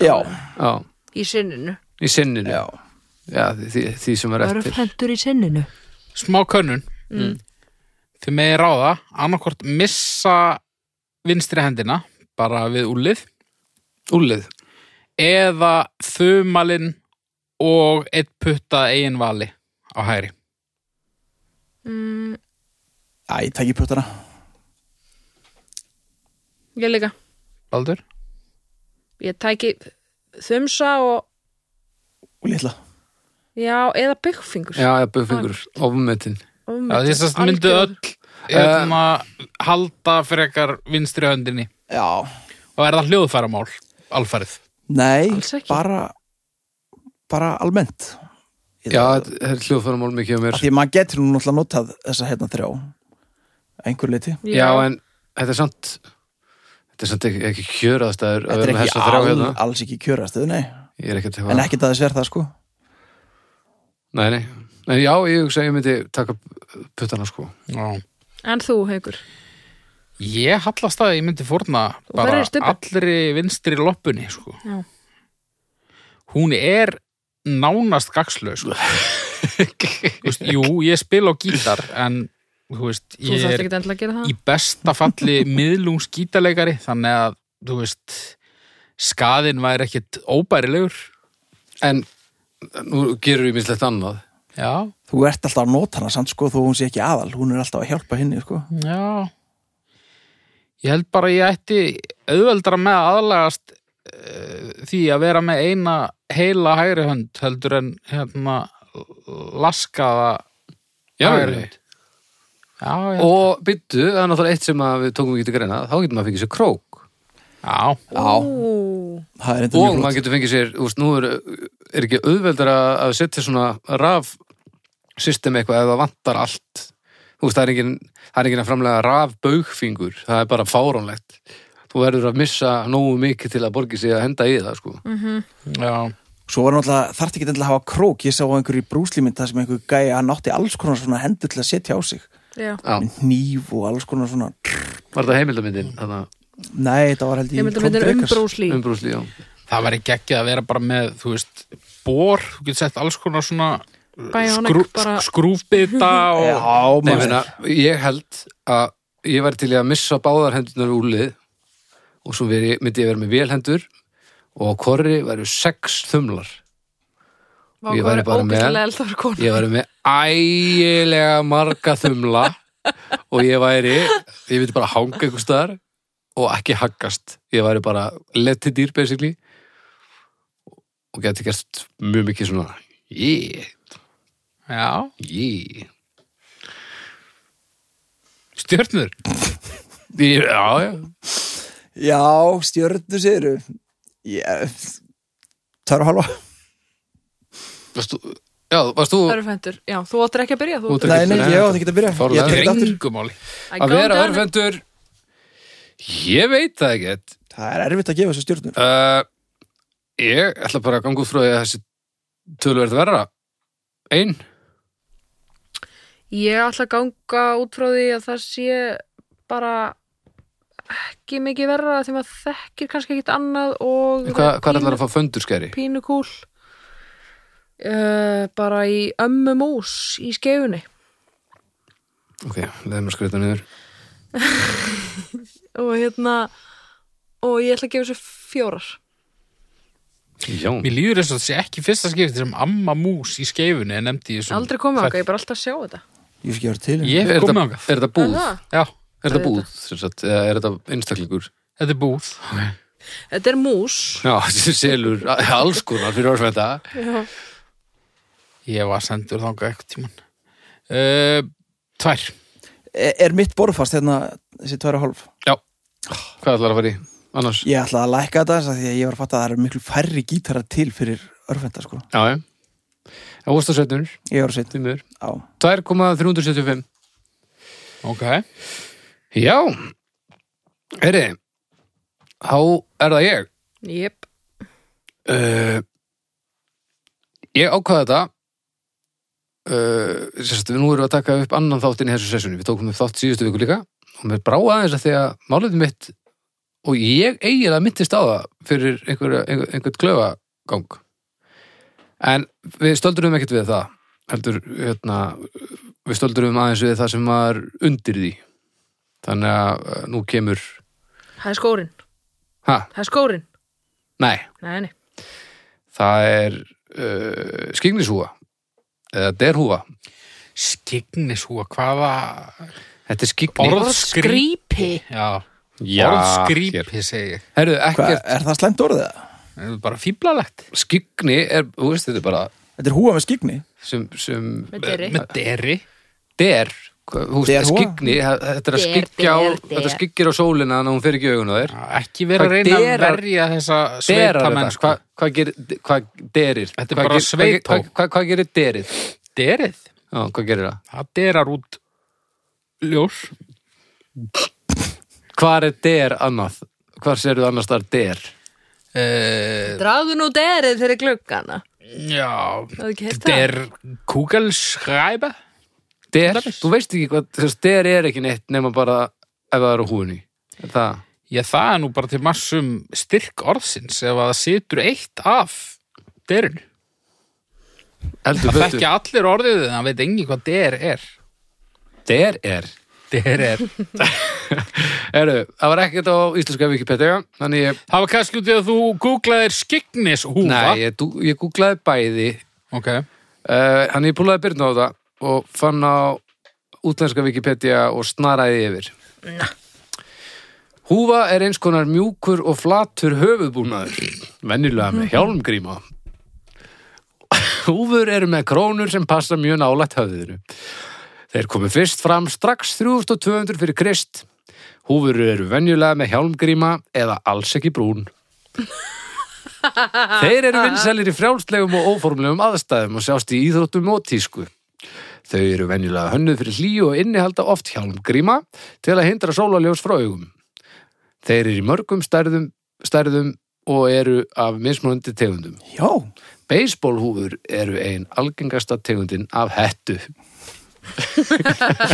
Speaker 4: Já,
Speaker 2: á,
Speaker 3: í sinninu
Speaker 2: í sinninu
Speaker 4: já.
Speaker 2: Já, því, því sem er réttir
Speaker 3: Örfhendur í sinninu
Speaker 1: Smá könnun.
Speaker 3: Mm.
Speaker 1: Þið meði ráða annarkvort missa vinstri hendina, bara við úlið,
Speaker 2: Úlið,
Speaker 1: eða þumalinn og eitt putta eigin vali á hægri.
Speaker 3: mm,
Speaker 4: Æ, ég tæki puttana.
Speaker 3: Ég líka,
Speaker 1: Baldur?
Speaker 3: ég tæki þumsa og
Speaker 4: Og litla.
Speaker 3: já, eða byggfingur
Speaker 2: já, eða buffingur, ofmetin
Speaker 1: Já, því þess að myndu öll hérna, halda frekar vinstri höndinni
Speaker 4: Já.
Speaker 1: og er það hljóðfæramál, alfarið.
Speaker 4: Nei,
Speaker 3: Alls ekki.
Speaker 4: bara, bara almennt. Ég
Speaker 2: Já,
Speaker 4: það-
Speaker 2: þetta er hljóðfæramál mikið á mér
Speaker 4: Af Því að maður getur nú náttúrulega notað þessa hérna þrjá að einhver leiti.
Speaker 2: Já, en þetta er samt þetta er samt ekki, ekki kjöraðstæður að
Speaker 4: Þetta er
Speaker 2: vera með
Speaker 4: ekki
Speaker 2: þessa þrjá
Speaker 4: all,
Speaker 2: hérna
Speaker 4: alls ekki kjörastuð, nei.
Speaker 2: Ég er ekkert
Speaker 4: En
Speaker 2: eitthvað
Speaker 4: ekkert að þess verð það, sko.
Speaker 2: Nei, nei, en já, ég hugsa að ég myndi taka puttana sko
Speaker 1: Já.
Speaker 3: en þú, Haukur
Speaker 1: Ég hallast að ég myndi fórna
Speaker 3: Þú
Speaker 1: bara
Speaker 3: verður stubbi.
Speaker 1: allri vinstri loppunni, sko.
Speaker 3: Já.
Speaker 1: Hún er nánast gagslaus, sko. Þú veist, Jú, ég spila á gítar, en þú veist,
Speaker 3: Þú
Speaker 1: ég
Speaker 3: þarft
Speaker 1: er
Speaker 3: ekki endilega að gera það
Speaker 1: í besta falli miðlungs gítarleikari, þannig að, þú veist, skaðin væri ekkit óbærilegur.
Speaker 2: En nú gerur ég minnslegt annað
Speaker 1: Já,
Speaker 4: Þú ert alltaf að nota hana samt, sko, þó hún sé ekki aðal. Hún er alltaf að hjálpa henni, sko.
Speaker 1: já. Ég held bara að ég ætti auðveldra með að aðlagast uh, því að vera með eina heila hægri hönd heldur en hérna laskaða
Speaker 2: Já,
Speaker 1: hægri
Speaker 2: nei.
Speaker 1: hönd. Já, já.
Speaker 2: Og byttu, það er náttúrulega eitt sem að við tókum ekki til greina, þá getur maður fengið sér krók
Speaker 1: já.
Speaker 3: Ú,
Speaker 4: Það er enda
Speaker 2: og
Speaker 4: mjög flott.
Speaker 2: maður getur fengið sér, þú veist, nú er, er ekki auðveldar að að setja svona raf system eitthvað ef það vantar allt þú veist, það er engin, það er engin að framlega raf baugfingur, það er bara fáránlegt þú verður að missa nógu mikið til að borgi sig að henda í það, sko
Speaker 1: já.
Speaker 4: Svo var náttúrulega, þarf ekki endilega að hafa krók. Ég sá á einhverju brúslímynd það sem einhver gæja, hann átti alls konar svona hendur til að setja á sig.
Speaker 3: já
Speaker 2: Já,
Speaker 4: Nýf og alls konar svona.
Speaker 2: var þetta heimildamindin, þannig
Speaker 4: Nei, þetta var held ég
Speaker 3: Ég myndi að mynda um brúslí
Speaker 2: umbrúsli, já
Speaker 1: Það væri geggjað að vera bara með, þú veist, bor, þú getur sett alls konar svona
Speaker 3: Bionic
Speaker 1: skrú,
Speaker 3: bara-
Speaker 1: skrúfbita
Speaker 4: Já,
Speaker 1: og...
Speaker 2: Nei,
Speaker 4: maður.
Speaker 2: menna, ég held að ég væri til í að missa báðar hendunar úr lið og svo veri, myndi ég vera með vélhendur og á korri væri sex þumlar
Speaker 3: Vá,
Speaker 2: Ég
Speaker 3: hvað
Speaker 2: væri
Speaker 3: er
Speaker 2: bara með-
Speaker 3: ógeðslega eldar kona.
Speaker 2: ég væri með ægilega marga þumla og ég væri ég myndi bara hanga einhvers staðar og ekki haggast ég væri bara letið dýr basically og geti gert mjög mikið svona yeah,
Speaker 1: Já.
Speaker 2: yeah
Speaker 1: Stjörnur.
Speaker 2: Ég- já, já,
Speaker 4: Já, stjörnu sigur Ég Tvær og halva
Speaker 2: varst þú já, varst þú
Speaker 3: Örfendur, já, þú áttir ekki að byrja Þú
Speaker 2: Þú áttir
Speaker 4: Nei, nei,
Speaker 2: Nei,
Speaker 4: ég átti ekki að byrja
Speaker 2: fárlega.
Speaker 4: Ég tek þetta aftur
Speaker 1: Engumáli.
Speaker 3: I
Speaker 2: að
Speaker 3: go
Speaker 2: vera
Speaker 3: down-
Speaker 2: örfendur ég veit það ekkert
Speaker 4: Það er erfitt að gefa þessu stjórnum.
Speaker 2: Uh, ég ætla bara að ganga út frá því að þessi tölverð verra. Ein,
Speaker 3: Ég ætla að ganga út frá því að það sé bara ekki mikið verra því maður þekkir kannski ekkit annað og
Speaker 2: hvað, hvað ætlar að fá föndurskeri?
Speaker 3: pínu kúl uh, bara í ömmu mús í skefunni
Speaker 2: Ok, leðum að skreita niður.
Speaker 3: og hérna og ég ætla að gefa þessu fjórar
Speaker 2: Já.
Speaker 1: Mér líður þess að þetta sé ekki fyrsta skipti sem Amma Mús í skeifunni er nefndi ég sem
Speaker 3: aldrei komið okkar, ég er bara alltaf að sjá þetta
Speaker 4: Ég fyrir ekki að vera til.
Speaker 1: Ég
Speaker 2: Er
Speaker 1: hef komið
Speaker 2: þetta,
Speaker 1: ánga
Speaker 2: er þetta búð?
Speaker 3: Aha.
Speaker 1: Já,
Speaker 2: Er þetta
Speaker 3: Auðvitað.
Speaker 2: búð? sem sagt, eða Er þetta einstaklingur?
Speaker 1: þetta er búð
Speaker 3: þetta er mús
Speaker 2: Já, þessi selur alls konar fyrir orðfænda.
Speaker 1: Ég var sendur þangað eitthvað tíman uh, Tvær
Speaker 4: Er, er mitt borfast hérna þessi tværa hálf?
Speaker 2: Hvað ætlar að fara í? Annars?
Speaker 4: Ég ætla að lækka þetta þess að því að ég var að fatta að það eru miklu færri gítara til fyrir örfenda sko.
Speaker 2: Já, já. Það vorst á setnur,
Speaker 4: Ég var sveit
Speaker 2: því miður.
Speaker 4: á.
Speaker 2: 2,375.
Speaker 1: Ok
Speaker 2: Já. Heyri, þá er það ég.
Speaker 3: yep.
Speaker 2: Uh, ég ákvaða þetta. Uh, sérst, við nú erum við að taka upp annan þáttinn í þessu sessunni. Við tókum upp þátt síðustu viku líka og mér brá aðeins að því að máliðið mitt og ég eiginlega myndist á það fyrir einhver, einhver, einhvern klöfagang. En við stöldurum ekkert við það. Heldur, hérna, við stöldurum aðeins við það sem var undir því. Þannig að uh, nú kemur...
Speaker 3: það er skórin,
Speaker 2: Ha,
Speaker 3: það er skórin
Speaker 2: nei.
Speaker 3: nei, nei.
Speaker 2: það er uh, skingnisúa eða derhúa
Speaker 1: Skignisúa, hvaða
Speaker 2: þetta er skingni
Speaker 1: Orðskrípi Já,
Speaker 2: Já, hér.
Speaker 1: orðskrípi segi ég
Speaker 2: Herðu,
Speaker 4: Hva,
Speaker 2: ekkert,
Speaker 4: er það slæmt orðið? eða?
Speaker 1: Það er bara fíblalegt
Speaker 2: skingni er, þú veist þetta er bara
Speaker 4: Þetta er húa með skikni.
Speaker 2: sem, sem
Speaker 3: Með deri.
Speaker 1: Með deri
Speaker 2: der hvað- þú veist,
Speaker 4: Derhúfa?
Speaker 2: skingni, þetta er að
Speaker 3: Der,
Speaker 2: skikja á,
Speaker 3: der, der.
Speaker 2: þetta skikir á sólina þannig að hún fer ekki í augun á þér
Speaker 1: Ekki vera að
Speaker 2: Hvað
Speaker 1: reyna að
Speaker 2: derar-
Speaker 1: verja þessa
Speaker 2: derar
Speaker 1: sveita
Speaker 2: þetta,
Speaker 1: menn
Speaker 2: hvað hva gerir hvað derir,
Speaker 1: Þetta er
Speaker 2: Hvað ger-
Speaker 1: bara
Speaker 2: hvað ger-
Speaker 1: sveitó.
Speaker 2: hvað hvað- hvað gerir derið
Speaker 1: Derið,
Speaker 2: já, hvað gerir það,
Speaker 1: það derar út ljós
Speaker 2: hvað er der annað hvað serðu annars þar der
Speaker 1: uh,
Speaker 3: dragðu nú derið fyrir gluggana
Speaker 1: Já,
Speaker 3: Hafðu ekki heyrt það?
Speaker 1: der kúkalskræpa
Speaker 2: der, þú veist ekki hvað þess, der er ekki neitt nema bara ef það er á húinni það
Speaker 1: Já, það er nú bara til massum styrk orðsins ef að það situr eitt af derinu.
Speaker 2: heldur
Speaker 1: Það
Speaker 2: betur
Speaker 1: þekkja allir orðið en það veit engin hvað der er.
Speaker 2: der er
Speaker 1: Der er.
Speaker 2: Heru, það var ekkert á íslenska Wikipedia þannig ég,
Speaker 1: það var kannski út í að þú googlaðir skignis húfa.
Speaker 2: nei, ég, dú- ég googlaði bæði
Speaker 1: Ok.
Speaker 2: uh, hann ég púlaði byrna á það og fann á útlenska Wikipedia og snaraði yfir Húfa er eins konar mjúkur og flatur höfuðbúnaður, venjulega með hjálmgríma. Húfur eru með krónur sem passa mjög nálætt höfðinu. Þeir komu fyrst fram strax 3200 fyrir krist. Húfur eru venjulega með hjálmgríma eða alls ekki brún. Þeir
Speaker 3: Ah,
Speaker 2: eru vinsælir í frjálslegum og óformlegum aðstæðum og sjást í íþróttum og tísku. Þau eru venjulega hönnuð fyrir hlýju og innihalda oft hjálmgríma til að hindra sólaljós frá augum. Þeir eru í mörgum stærðum, stærðum og eru af mismunandi tegundum.
Speaker 4: Já.
Speaker 2: Beisbólhúfur eru ein algengasta tegundin af hettu.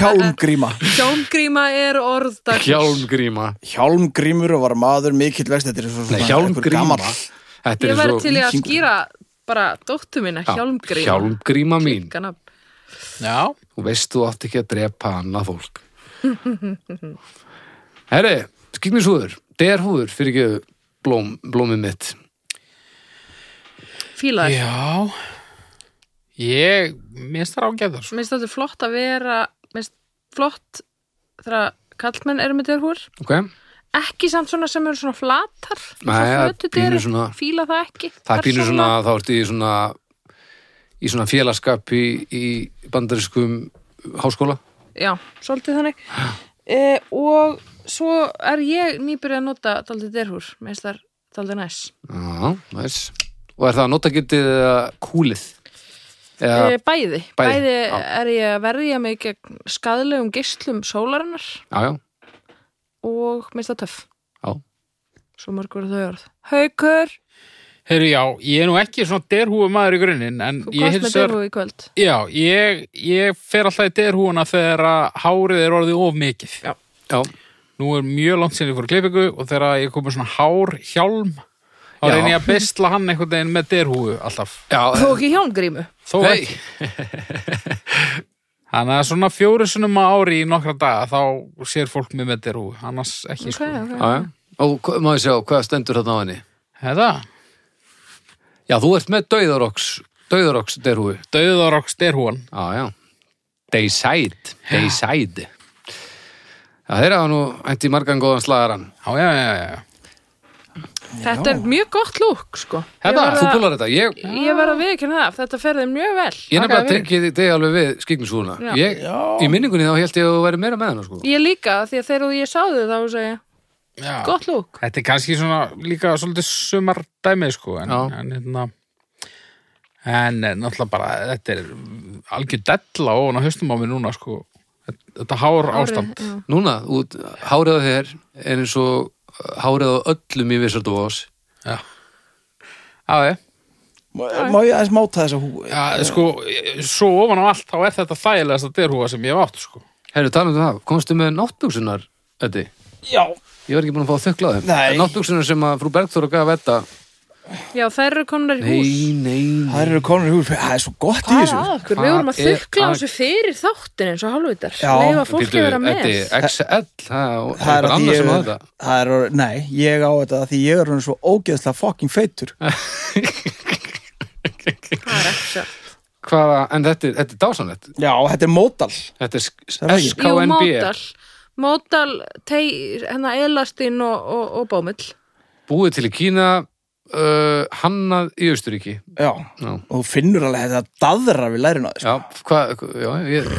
Speaker 4: Hjálmgríma.
Speaker 3: hjálmgríma er orð dagsins.
Speaker 2: Hjálmgríma.
Speaker 4: Hjálmgrímur og var maður mikill vext. Þetta er svo svona
Speaker 2: Nei,
Speaker 4: einhver
Speaker 2: hjálmgríma.
Speaker 4: gamall-
Speaker 2: Þetta
Speaker 3: ég
Speaker 2: er
Speaker 3: væri
Speaker 2: svo-
Speaker 3: til í að
Speaker 4: víkingur.
Speaker 3: skýra bara dóttu minna,
Speaker 2: Já,
Speaker 3: hjálmgríma
Speaker 2: Hjálmgríma mín.
Speaker 3: Ganab.
Speaker 1: Já.
Speaker 2: Þú veist þú átt ekki að drepa annað fólk. Herri, skiknishúður, derhúður fyrir ekki blóm, blómið mitt.
Speaker 3: fílaður
Speaker 1: Já. Ég, mér finnst það sko. ágæðar.
Speaker 3: Mér finnst þetta flott að vera mér finnst flott þegar að kallmenn eru með derhúr
Speaker 2: Ok?
Speaker 3: ekki samt svona sem eru svona flatar
Speaker 2: Nei, það
Speaker 3: það
Speaker 2: pínu
Speaker 3: pínur
Speaker 2: svona-
Speaker 3: fíla það ekki
Speaker 2: Það er pínu svona, þá ertu í svona í svona félagskap í, í bandariskum háskóla
Speaker 3: já, svolítið þannig e, og svo er ég nýbyrjuð að nota daldið derhúr mér finnst það daldið næs
Speaker 2: Já, næs Og er það notagildið eða kúlið? Eða,
Speaker 3: e, bæði, bæði,
Speaker 2: já.
Speaker 3: er ég að verja mig gegn skadlegum geislum sólarinnar
Speaker 2: já, já,
Speaker 3: og mér finnst það töff
Speaker 2: já
Speaker 3: svo mörg voru þau orð Haukur,
Speaker 1: Heyrðu, já, ég er nú ekki svona derhúi maður í grunninn, en
Speaker 3: þú
Speaker 1: ég
Speaker 3: komst með
Speaker 1: hilsar...
Speaker 3: dyrfu í kvöld
Speaker 1: Já, ég, ég fer alltaf í derhúuna þegar að hárið er orðið of mikið. Já.
Speaker 2: Já,
Speaker 1: Nú er mjög langt sinni fyrir klippingu og þegar ég komið svona hár hjálm, þá
Speaker 2: Já.
Speaker 1: reyni ég að bestla hann einhvern veginn með derhúu alltaf.
Speaker 2: já eh,
Speaker 3: Þú ekki hjálmgrímu
Speaker 1: Þó
Speaker 2: Nei.
Speaker 1: ekki. Þannig að svona fjóru sunnum á ári í nokkra daga þá sér fólk mig með derhúu, annars ekki
Speaker 3: Ok,
Speaker 1: sko.
Speaker 3: ok.
Speaker 2: já, já. Og hva- má ég sjá, hvað stendur þarna á henni?
Speaker 1: Þetta,
Speaker 2: Já, þú ert með dauðaroks, dauðaroks derhúi.
Speaker 1: döðarokks derhúan.
Speaker 2: Já, já. Deyside, deyside. Já, þeirra var nú hendi margan góðan slagaran.
Speaker 1: Já, já, já, já.
Speaker 3: Þetta er mjög gott lúk sko Ég
Speaker 2: Þetta,
Speaker 3: verð
Speaker 2: þú
Speaker 3: að-
Speaker 2: púlar þetta. Ég,
Speaker 3: Ég verð að viðkynna það, þetta fer þeim mjög vel
Speaker 2: ég nefnilega
Speaker 3: Þakkaði fyrir.
Speaker 2: tekið þig alveg við skiknusúna.
Speaker 3: Já.
Speaker 2: Ég, í minningunni þá held ég að þú væri meira með hana, sko.
Speaker 3: Ég líka, því að þegar ég sá þau þá segja,
Speaker 1: já.
Speaker 3: gott lúk
Speaker 1: Þetta er kannski svona líka svolítið sumar dæmi sko en,
Speaker 2: Já.
Speaker 1: en hérna en eh, náttúrulega bara þetta er algjör della og hann á haustum á mér núna sko Þetta- þetta hár
Speaker 3: Árið,
Speaker 1: ástand
Speaker 3: já.
Speaker 2: Núna, út, hárið á þér er eins og uh, hárið á öllum í Vissardóðs.
Speaker 1: Já, já, já.
Speaker 4: Má, má ég aðeins máta þessa húi?
Speaker 1: já sko, eh, svo ofan á allt þá er þetta þægilegasta derhúa sem ég hef átt sko
Speaker 2: Herru, talandi um það, komstu með náttbúksunar, Eddi?
Speaker 4: Já.
Speaker 2: Ég var ekki búin að fá að þökla þeim.
Speaker 4: Nei.
Speaker 2: Náttbúksunar sem að frú Bergþóra gaf þetta.
Speaker 3: Já, þær eru komnar í hús
Speaker 2: Nei, nei,
Speaker 4: Það eru konur í húi, það er svo gott í
Speaker 3: Hvað er
Speaker 4: þessu.
Speaker 3: að okkur?
Speaker 2: Hvað
Speaker 3: Ah, Við vorum að
Speaker 2: er
Speaker 3: þukla á
Speaker 2: að-
Speaker 3: þessu fyrir þáttin eins og hálfvitar
Speaker 4: Já.
Speaker 3: Leifa fólki að vera með
Speaker 2: Eddi, XL, það er
Speaker 4: Það er
Speaker 2: bara
Speaker 4: að
Speaker 2: annað
Speaker 4: ég,
Speaker 2: sem að þetta.
Speaker 4: það er, orðið- nei, ég á þetta af því ég er hann svo ógeðslega fucking feitur.
Speaker 3: Það er ekki sér
Speaker 2: Hvaða, en þetta er, þetta er dásanlegt.
Speaker 4: Já, þetta er mótal.
Speaker 2: Þetta er sk-
Speaker 4: Það er ekki.
Speaker 3: Jú,
Speaker 2: SKNB.
Speaker 3: mótal Mótal, tei, hennar hérna elastinn og, og, og bómill
Speaker 2: Búið til í Kína, uh, hannað í Austuríki.
Speaker 4: Já.
Speaker 2: Já.
Speaker 4: Og þú finnur alveg þetta daðra við lærin á þessu.
Speaker 2: Já, hvað, já, ég,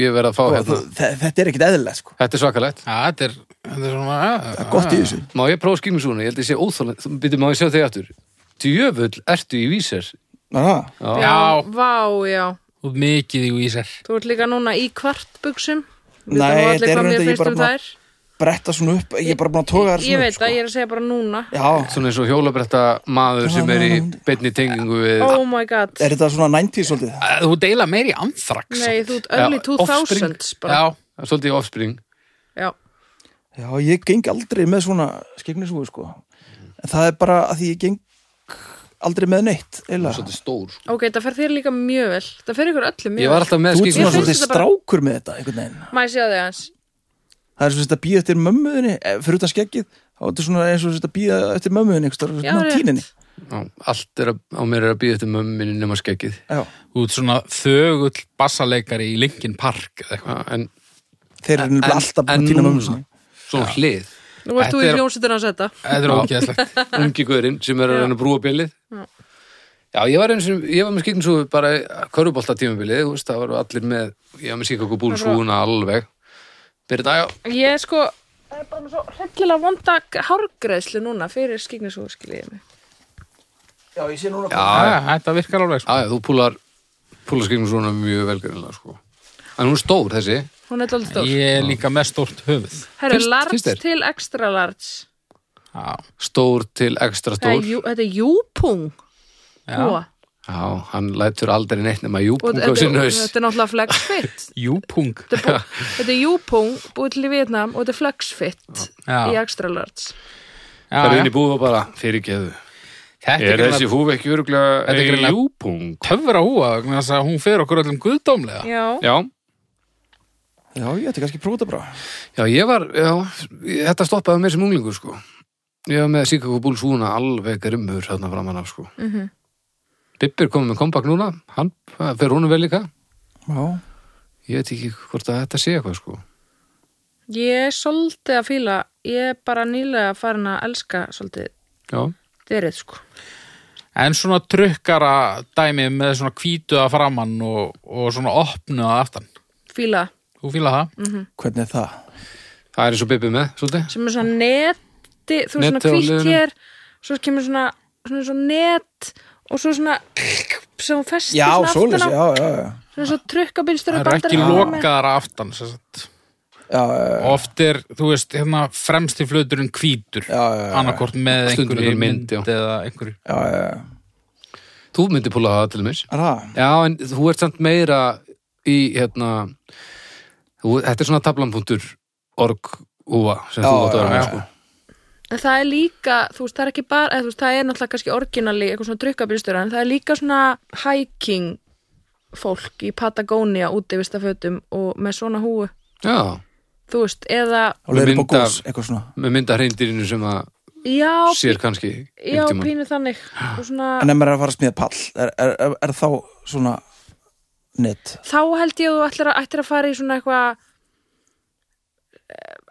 Speaker 2: ég verð að fá
Speaker 4: Og
Speaker 2: hérna.
Speaker 4: þú- þe- Þetta er ekkit eðlilegt, sko.
Speaker 2: Þetta er svakalegt.
Speaker 1: Já, þetta er, þetta er svona
Speaker 4: Það
Speaker 2: Ah.
Speaker 4: er gott í þessu.
Speaker 2: Má ég prófa skilmingsúna? Ég held ég sé óþólend. Þú byrjum má ég sjá þig aftur. Djöfull ertu í vísir.
Speaker 4: Aha.
Speaker 2: Já.
Speaker 3: Vá, já
Speaker 1: og mikið í vísar
Speaker 3: Þú ert líka núna í kvartbuxum Við
Speaker 4: Nei, þetta
Speaker 3: veitum nú allir
Speaker 4: er
Speaker 3: hvað mér
Speaker 4: reyndar, ég
Speaker 3: finnst
Speaker 4: bara
Speaker 3: um
Speaker 4: búin að
Speaker 3: þær
Speaker 4: bretta svona upp, ég er bara búin að toga þær svona
Speaker 3: Ég veit
Speaker 4: upp, sko.
Speaker 3: að ég er að segja bara núna
Speaker 4: Já,
Speaker 2: Svona eins og hjólabretta maður sem er í
Speaker 4: um-
Speaker 2: beinni tengingu við...
Speaker 3: Oh my god
Speaker 4: er þetta svona 90 svolítið?
Speaker 1: Eh, Þú deila meiri anþraks
Speaker 3: Nei, þú ert early
Speaker 2: Já,
Speaker 3: 2000s
Speaker 2: offspring.
Speaker 3: bara
Speaker 1: Já,
Speaker 2: Svolítið offspring.
Speaker 3: Já,
Speaker 4: Já, ég geng aldrei með svona skegnisúi, sko. En það er bara að því ég geng aldrei með neitt, eiginlega.
Speaker 2: Svolítið stór. sko.
Speaker 3: ok, það fer þér líka mjög vel Það fer ykkur öllum mjög
Speaker 2: Ég var
Speaker 3: vel
Speaker 2: alltaf
Speaker 4: Þú
Speaker 2: með
Speaker 4: ert svona
Speaker 3: Ég finnst
Speaker 2: skilmingsúna.
Speaker 4: svolítið
Speaker 3: þetta bara-
Speaker 4: strákur með þetta, einhvern veginn.
Speaker 3: Má ég segja þig aðeins
Speaker 4: Það er svona að býja eftir mömmuðinni, eh, fyrir utan skeggið, þá er þetta svona eins og þetta býja eftir mömmuðinni, einhvers
Speaker 3: Já,
Speaker 4: staðar,
Speaker 3: rétt.
Speaker 4: tíninni.
Speaker 2: Allt er að, á mér er að býða eftir mömminni nema skeggið.
Speaker 4: Já,
Speaker 1: þú ert svona þögull bassaleikari í Linkin Park eða eitthvað
Speaker 2: Já, En
Speaker 4: þeir eru
Speaker 2: en-
Speaker 4: nefnilega alltaf búin
Speaker 2: en
Speaker 4: að tína
Speaker 2: núna?
Speaker 4: mömmu sinni.
Speaker 2: svona hlið.
Speaker 3: Nú ert
Speaker 1: Þetta
Speaker 3: þú í
Speaker 1: er-
Speaker 3: hljómsveitur hans þetta
Speaker 1: Þetta er
Speaker 2: Já.
Speaker 1: ógeðslegt
Speaker 2: Ungi guðurinn sem er að reyna að brúa bjölið. Já, ég var, eins og, ég var með skiknsúfi bara körfubolta tímabilið, þú veist, það var allir með, ég var með síkakku búlsúna alveg. Byrja dag,
Speaker 3: Ég er sko Það er bara með svo hryllilega vonda hárgreðslu núna fyrir skiknisúðu skiljiði mig.
Speaker 4: Já, ég sé núna.
Speaker 2: já, já,
Speaker 1: Já, þetta virkar alveg sko.
Speaker 2: Já, já, þú púlar, púlar skiknum svona mjög velgerinlega, sko. En hún er stór, þessi.
Speaker 3: Hún er dálítið stór.
Speaker 1: Ég er líka með stórt höfuð
Speaker 3: Herru,
Speaker 2: finnst-
Speaker 3: large
Speaker 2: finnst þér?
Speaker 3: til extra large.
Speaker 1: Já,
Speaker 2: Stór til ekstra
Speaker 3: Það
Speaker 2: stór.
Speaker 3: er jú- Þetta er júpung.
Speaker 1: já.
Speaker 2: Já, hann lætur aldrei neitt nema
Speaker 3: Og
Speaker 2: júpunga
Speaker 3: þetta,
Speaker 2: á sinn
Speaker 3: þetta
Speaker 2: haus.
Speaker 3: er náttúrulega flexfit.
Speaker 1: Júpung
Speaker 3: Þetta er bú- þetta er júpung búið til í Vietnam og þetta er flexfit
Speaker 1: Já.
Speaker 3: í extra large.
Speaker 1: já,
Speaker 2: Það er inn
Speaker 1: já.
Speaker 2: í búið og bara, fyrirgeðu.
Speaker 1: Þetta
Speaker 2: Er
Speaker 1: er
Speaker 2: þessi
Speaker 1: þessi
Speaker 2: húf ekki öruglega
Speaker 1: Þetta er greinilega-
Speaker 2: júpung?
Speaker 1: töfra húa vegna þess að hún fer okkur öllum guðdómlega
Speaker 3: Já.
Speaker 2: Já,
Speaker 4: Já, ég ætti kannski að prófa þetta bara.
Speaker 2: já, ég var, já, þetta stoppaði mér sem unglingur, sko. Ég var með síkakku búlsúna alveg grimmur þarna framan af, sko. Mm
Speaker 3: Mhm.
Speaker 2: Bibbir komið með kompakt núna, hann, það fer honum vel líka.
Speaker 4: Já,
Speaker 2: Ég veit ekki hvort að þetta sé eitthvað, sko.
Speaker 3: Ég er svolítið að fíla, ég er bara nýlega farin að elska svolítið
Speaker 2: Já,
Speaker 3: verið sko.
Speaker 1: en svona trukkara dæmi með svona hvítu að framann og, og svona opnu að aftan
Speaker 3: Fíla það.
Speaker 1: Þú fíla það?
Speaker 3: Mhm.
Speaker 4: hvernig er það?
Speaker 2: það er eins og Bibbi með, svolítið.
Speaker 3: sem er svona neti þú veist svona
Speaker 2: Neti á
Speaker 3: hvítt
Speaker 2: liðinu.
Speaker 3: hér svo kemur svona, svona, svona net og svo svona sem hún festir
Speaker 4: Já,
Speaker 3: svona
Speaker 4: svoleiðis,
Speaker 3: aftan
Speaker 4: já,
Speaker 3: á
Speaker 4: já, já.
Speaker 3: svona svo trukkabilstur
Speaker 1: Það
Speaker 3: og
Speaker 1: er ekki
Speaker 3: bandar
Speaker 1: lokaðara aftan sem sagt.
Speaker 4: já, já,
Speaker 1: oft er, þú veist, hérna fremsti flöturinn hvítur
Speaker 4: já, já, já, já,
Speaker 1: annarkort með
Speaker 2: Stundum
Speaker 1: einhverju
Speaker 2: einhver mynd,
Speaker 1: mynd
Speaker 2: já.
Speaker 1: eða einhverju
Speaker 4: já, já, já.
Speaker 2: Þú myndir púla það til mér.
Speaker 4: Er það?
Speaker 2: Já, en þú ert samt meira í, hérna, þú, þetta er svona tablanpunktur org húfa sem
Speaker 4: Já,
Speaker 2: þú átt
Speaker 4: já,
Speaker 2: að vera með,
Speaker 4: já.
Speaker 2: sko.
Speaker 3: En það er líka, þú veist, það er ekki bara, eða, þú veist, það er náttúrulega kannski orginali, eitthvað svona drukkabílstjóra, en það er líka svona hiking fólk í Patagonia úti við stafötum og með svona húu,
Speaker 2: Já,
Speaker 3: þú veist, eða,
Speaker 4: Og leiður upp á
Speaker 2: Mynd af-
Speaker 4: gós, eitthvað svona
Speaker 2: með mynda hreindirinu sem að
Speaker 3: já,
Speaker 2: sér kannski
Speaker 3: já,
Speaker 2: einhvern tímann.
Speaker 3: pínu þannig, og svona,
Speaker 4: En ef maður er að fara að smíða pall Er, er, er, er þá svona net?
Speaker 3: þá held ég að þú ættir að, ættir að fara í svona eitthvað,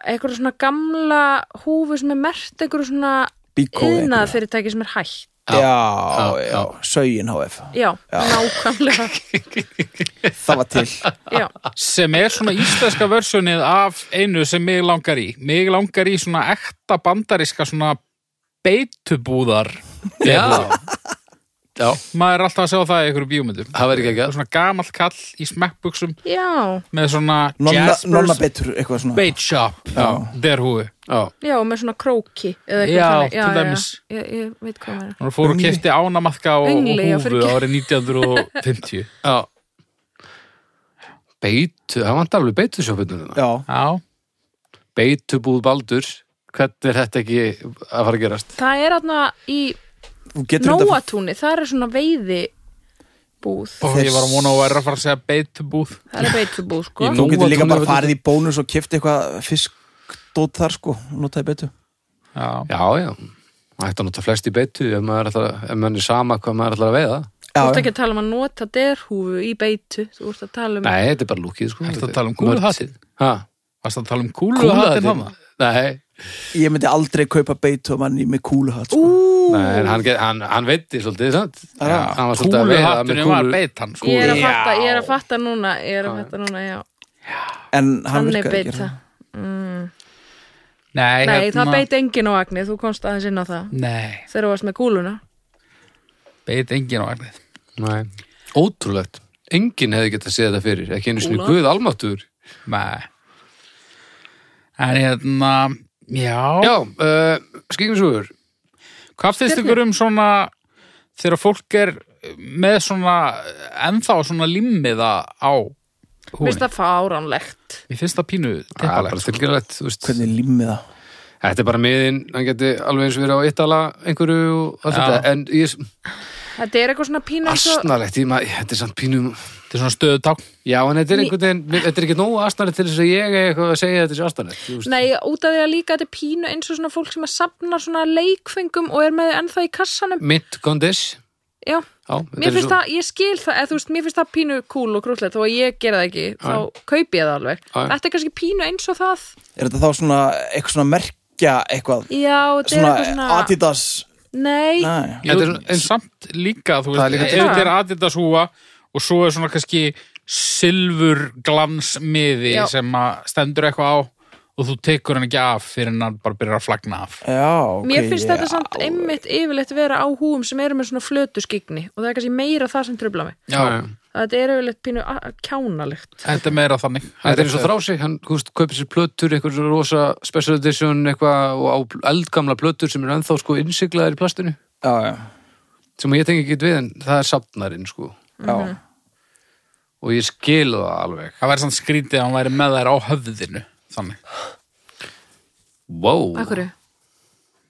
Speaker 3: eitthvað svona gamla húfu sem er mert eitthvað svona
Speaker 4: Bíkó
Speaker 3: yðnað fyrirtæki sem er hætt.
Speaker 4: Já,
Speaker 2: já,
Speaker 4: já, já,
Speaker 2: já.
Speaker 4: Sögin HF
Speaker 3: Já, nákvæmlega,
Speaker 4: Það var til
Speaker 3: já,
Speaker 1: sem er svona íslenska versjonið af einu sem mig langar í mig langar í svona ekta bandariska svona beitubúðar Hérna.
Speaker 2: Já, já,
Speaker 1: maður er alltaf að sjá það í einhverju bíómyndum
Speaker 2: það væri ekki ekki.
Speaker 1: svona gamall kall í smekkbuksum
Speaker 3: já,
Speaker 1: með svona
Speaker 4: Nonna, nonna
Speaker 1: Jaspers
Speaker 4: betur, eitthvað svona
Speaker 1: Bait Shop der húi
Speaker 2: Já,
Speaker 3: já, með svona króki eða eitthvað
Speaker 1: Já,
Speaker 3: þannig.
Speaker 1: til dæmis.
Speaker 3: já, ég, ég veit hvað maður
Speaker 1: hún fór og
Speaker 4: Öngli.
Speaker 1: kefti ánamaðka og,
Speaker 3: Öngli, já,
Speaker 1: og húfu
Speaker 3: fyrirgefðu.
Speaker 1: árið 1950
Speaker 2: já. Beitu, það vantar alveg beitu sjófinu.
Speaker 4: Já,
Speaker 1: já,
Speaker 2: Beitubúð Baldur, hvernig er þetta ekki að fara að gerast?
Speaker 3: Það er aðna í
Speaker 4: þú getur þetta
Speaker 3: Nóatúni, það er svona veiði búð,
Speaker 1: og ég var að vona að væri að fara að segja beitubúð
Speaker 3: það er veitubúð sko.
Speaker 2: Í
Speaker 4: Þú getur líka
Speaker 2: Nóatúni
Speaker 4: bara
Speaker 2: var
Speaker 4: farið í bónus og kifti eitthvað fiskdót þar sko Notaði betur
Speaker 1: já,
Speaker 2: Já, já. Það ætti að nota flest í beitu ef maður, ætlar, að- ef maður er sama hvað maður ætlar að veiða.
Speaker 3: Þú
Speaker 4: Já,
Speaker 3: ert
Speaker 4: já.
Speaker 3: ekki að tala um að nota derhúfu í beitu, þú ert að tala um
Speaker 2: Nei, þetta er bara lúkið, sko.
Speaker 1: Ertu að tala um kúluhattinn?
Speaker 2: Hæ?
Speaker 1: varst að tala um kúluhattinn hann
Speaker 2: Nei,
Speaker 4: Ég myndi aldrei kaupa beitu og manni með kúluhatt sko.
Speaker 3: Ú,
Speaker 2: nei en hann, get- hann, hann veitti svolítið, sant?
Speaker 4: Já.
Speaker 2: Hann var svolítið að veiða með
Speaker 1: kúluhattunum var
Speaker 2: kúlu.
Speaker 1: beitan sko.
Speaker 3: ég er að
Speaker 1: Já.
Speaker 3: fatta, ég er að fatta núna ég er að fatta núna, já,
Speaker 4: En hann
Speaker 3: þannig
Speaker 4: virkar hérna.
Speaker 3: beita
Speaker 1: nei,
Speaker 3: Nei, það
Speaker 1: hérna-
Speaker 3: beit engin á agni, þú komst aðeins inn á það
Speaker 1: nei,
Speaker 3: þegar þú varst með kúluna
Speaker 1: beit engin á agnið
Speaker 2: Nei. Ótrúlegt. Enginn hefði getað séð þetta fyrir. Ekki einu sinni Guð almáttur.
Speaker 1: nei en hérna já,
Speaker 2: Já, uh, skiknisugur.
Speaker 1: hvað finnst ykkur um svona þegar fólk er með svona ennþá svona limmiða á húin
Speaker 3: Vist það fáránlegt
Speaker 1: mér finnst það pínu
Speaker 2: Það er Ah, bara
Speaker 1: teppalegt sko.
Speaker 2: tilgjörlegt, þú veist.
Speaker 4: Hvernig límið það
Speaker 2: Þetta er bara miðin, hann geti alveg eins verið á eittala einhverju og allt
Speaker 1: Já.
Speaker 2: þetta. En ég,
Speaker 3: Þetta er eitthvað svona pínu eins og
Speaker 2: asnalegt, ég, maður- þetta er samt pínum.
Speaker 1: þetta er svona stöðuták
Speaker 2: Já, en þetta er
Speaker 3: Ný-
Speaker 2: einhvern veginn, mér- þetta er ekki nógu asnalegt til þess að ég er eitthvað að segja að þetta sé asnalegt. þú veist.
Speaker 3: Nei, út af því að líka þetta er pínu eins og svona fólk sem að sapna svona leikfengum og er með þau ennþá í kassanum
Speaker 2: Mint Gondis.
Speaker 3: Já,
Speaker 2: Já, þetta
Speaker 3: mér
Speaker 2: er
Speaker 3: finnst
Speaker 2: svo-
Speaker 3: það, ég skil það eða þú veist, mér finnst það pínu kúl og krúllett þó að ég gera það ekki, þá kaupi ég það alveg
Speaker 2: Já, já.
Speaker 3: Þetta er kannski pínu eins og það
Speaker 4: Er þetta þá svona eitthvað svona merkja eitthvað
Speaker 3: Já, þetta er
Speaker 4: Svona
Speaker 3: eitthvað svona
Speaker 4: Adidas
Speaker 3: Nei,
Speaker 4: Nei
Speaker 1: Jú,
Speaker 2: Þetta er svona-
Speaker 1: en samt líka, þú veist,
Speaker 2: er líka
Speaker 1: ef
Speaker 2: til-
Speaker 1: þetta er Adidas húa og svo er svona kannski silfur glansmiði
Speaker 3: Já.
Speaker 1: sem að stendur eitthvað á og þú tekur hann ekki af fyrir en hann bara byrjar að flagna af.
Speaker 4: Já, ok
Speaker 3: mér finnst
Speaker 4: já.
Speaker 3: þetta samt einmitt yfirleitt vera á húum sem eru með svona flötu skikni og það er kannski meira það sem trubla mig
Speaker 1: Já,
Speaker 3: Þetta er yfirleitt pínu a- kjánalegt
Speaker 1: þetta er meira þannig.
Speaker 2: Þetta er eins og frási, hann húst, kaupir sér plötur, eitthvað svo rosa special edition, eitthvað og á eldgamla plötur sem eru ennþá sko innsiglaðir í plastinu,
Speaker 4: Já, já,
Speaker 2: sem ég tengi ekki við en það er safnarinn sko
Speaker 4: já
Speaker 3: Mhm.
Speaker 2: og ég skil það alveg.
Speaker 1: Það væri samt skrítið að hann væri með þær á höfðinu, þannig.
Speaker 2: Wow,
Speaker 3: Akkurru,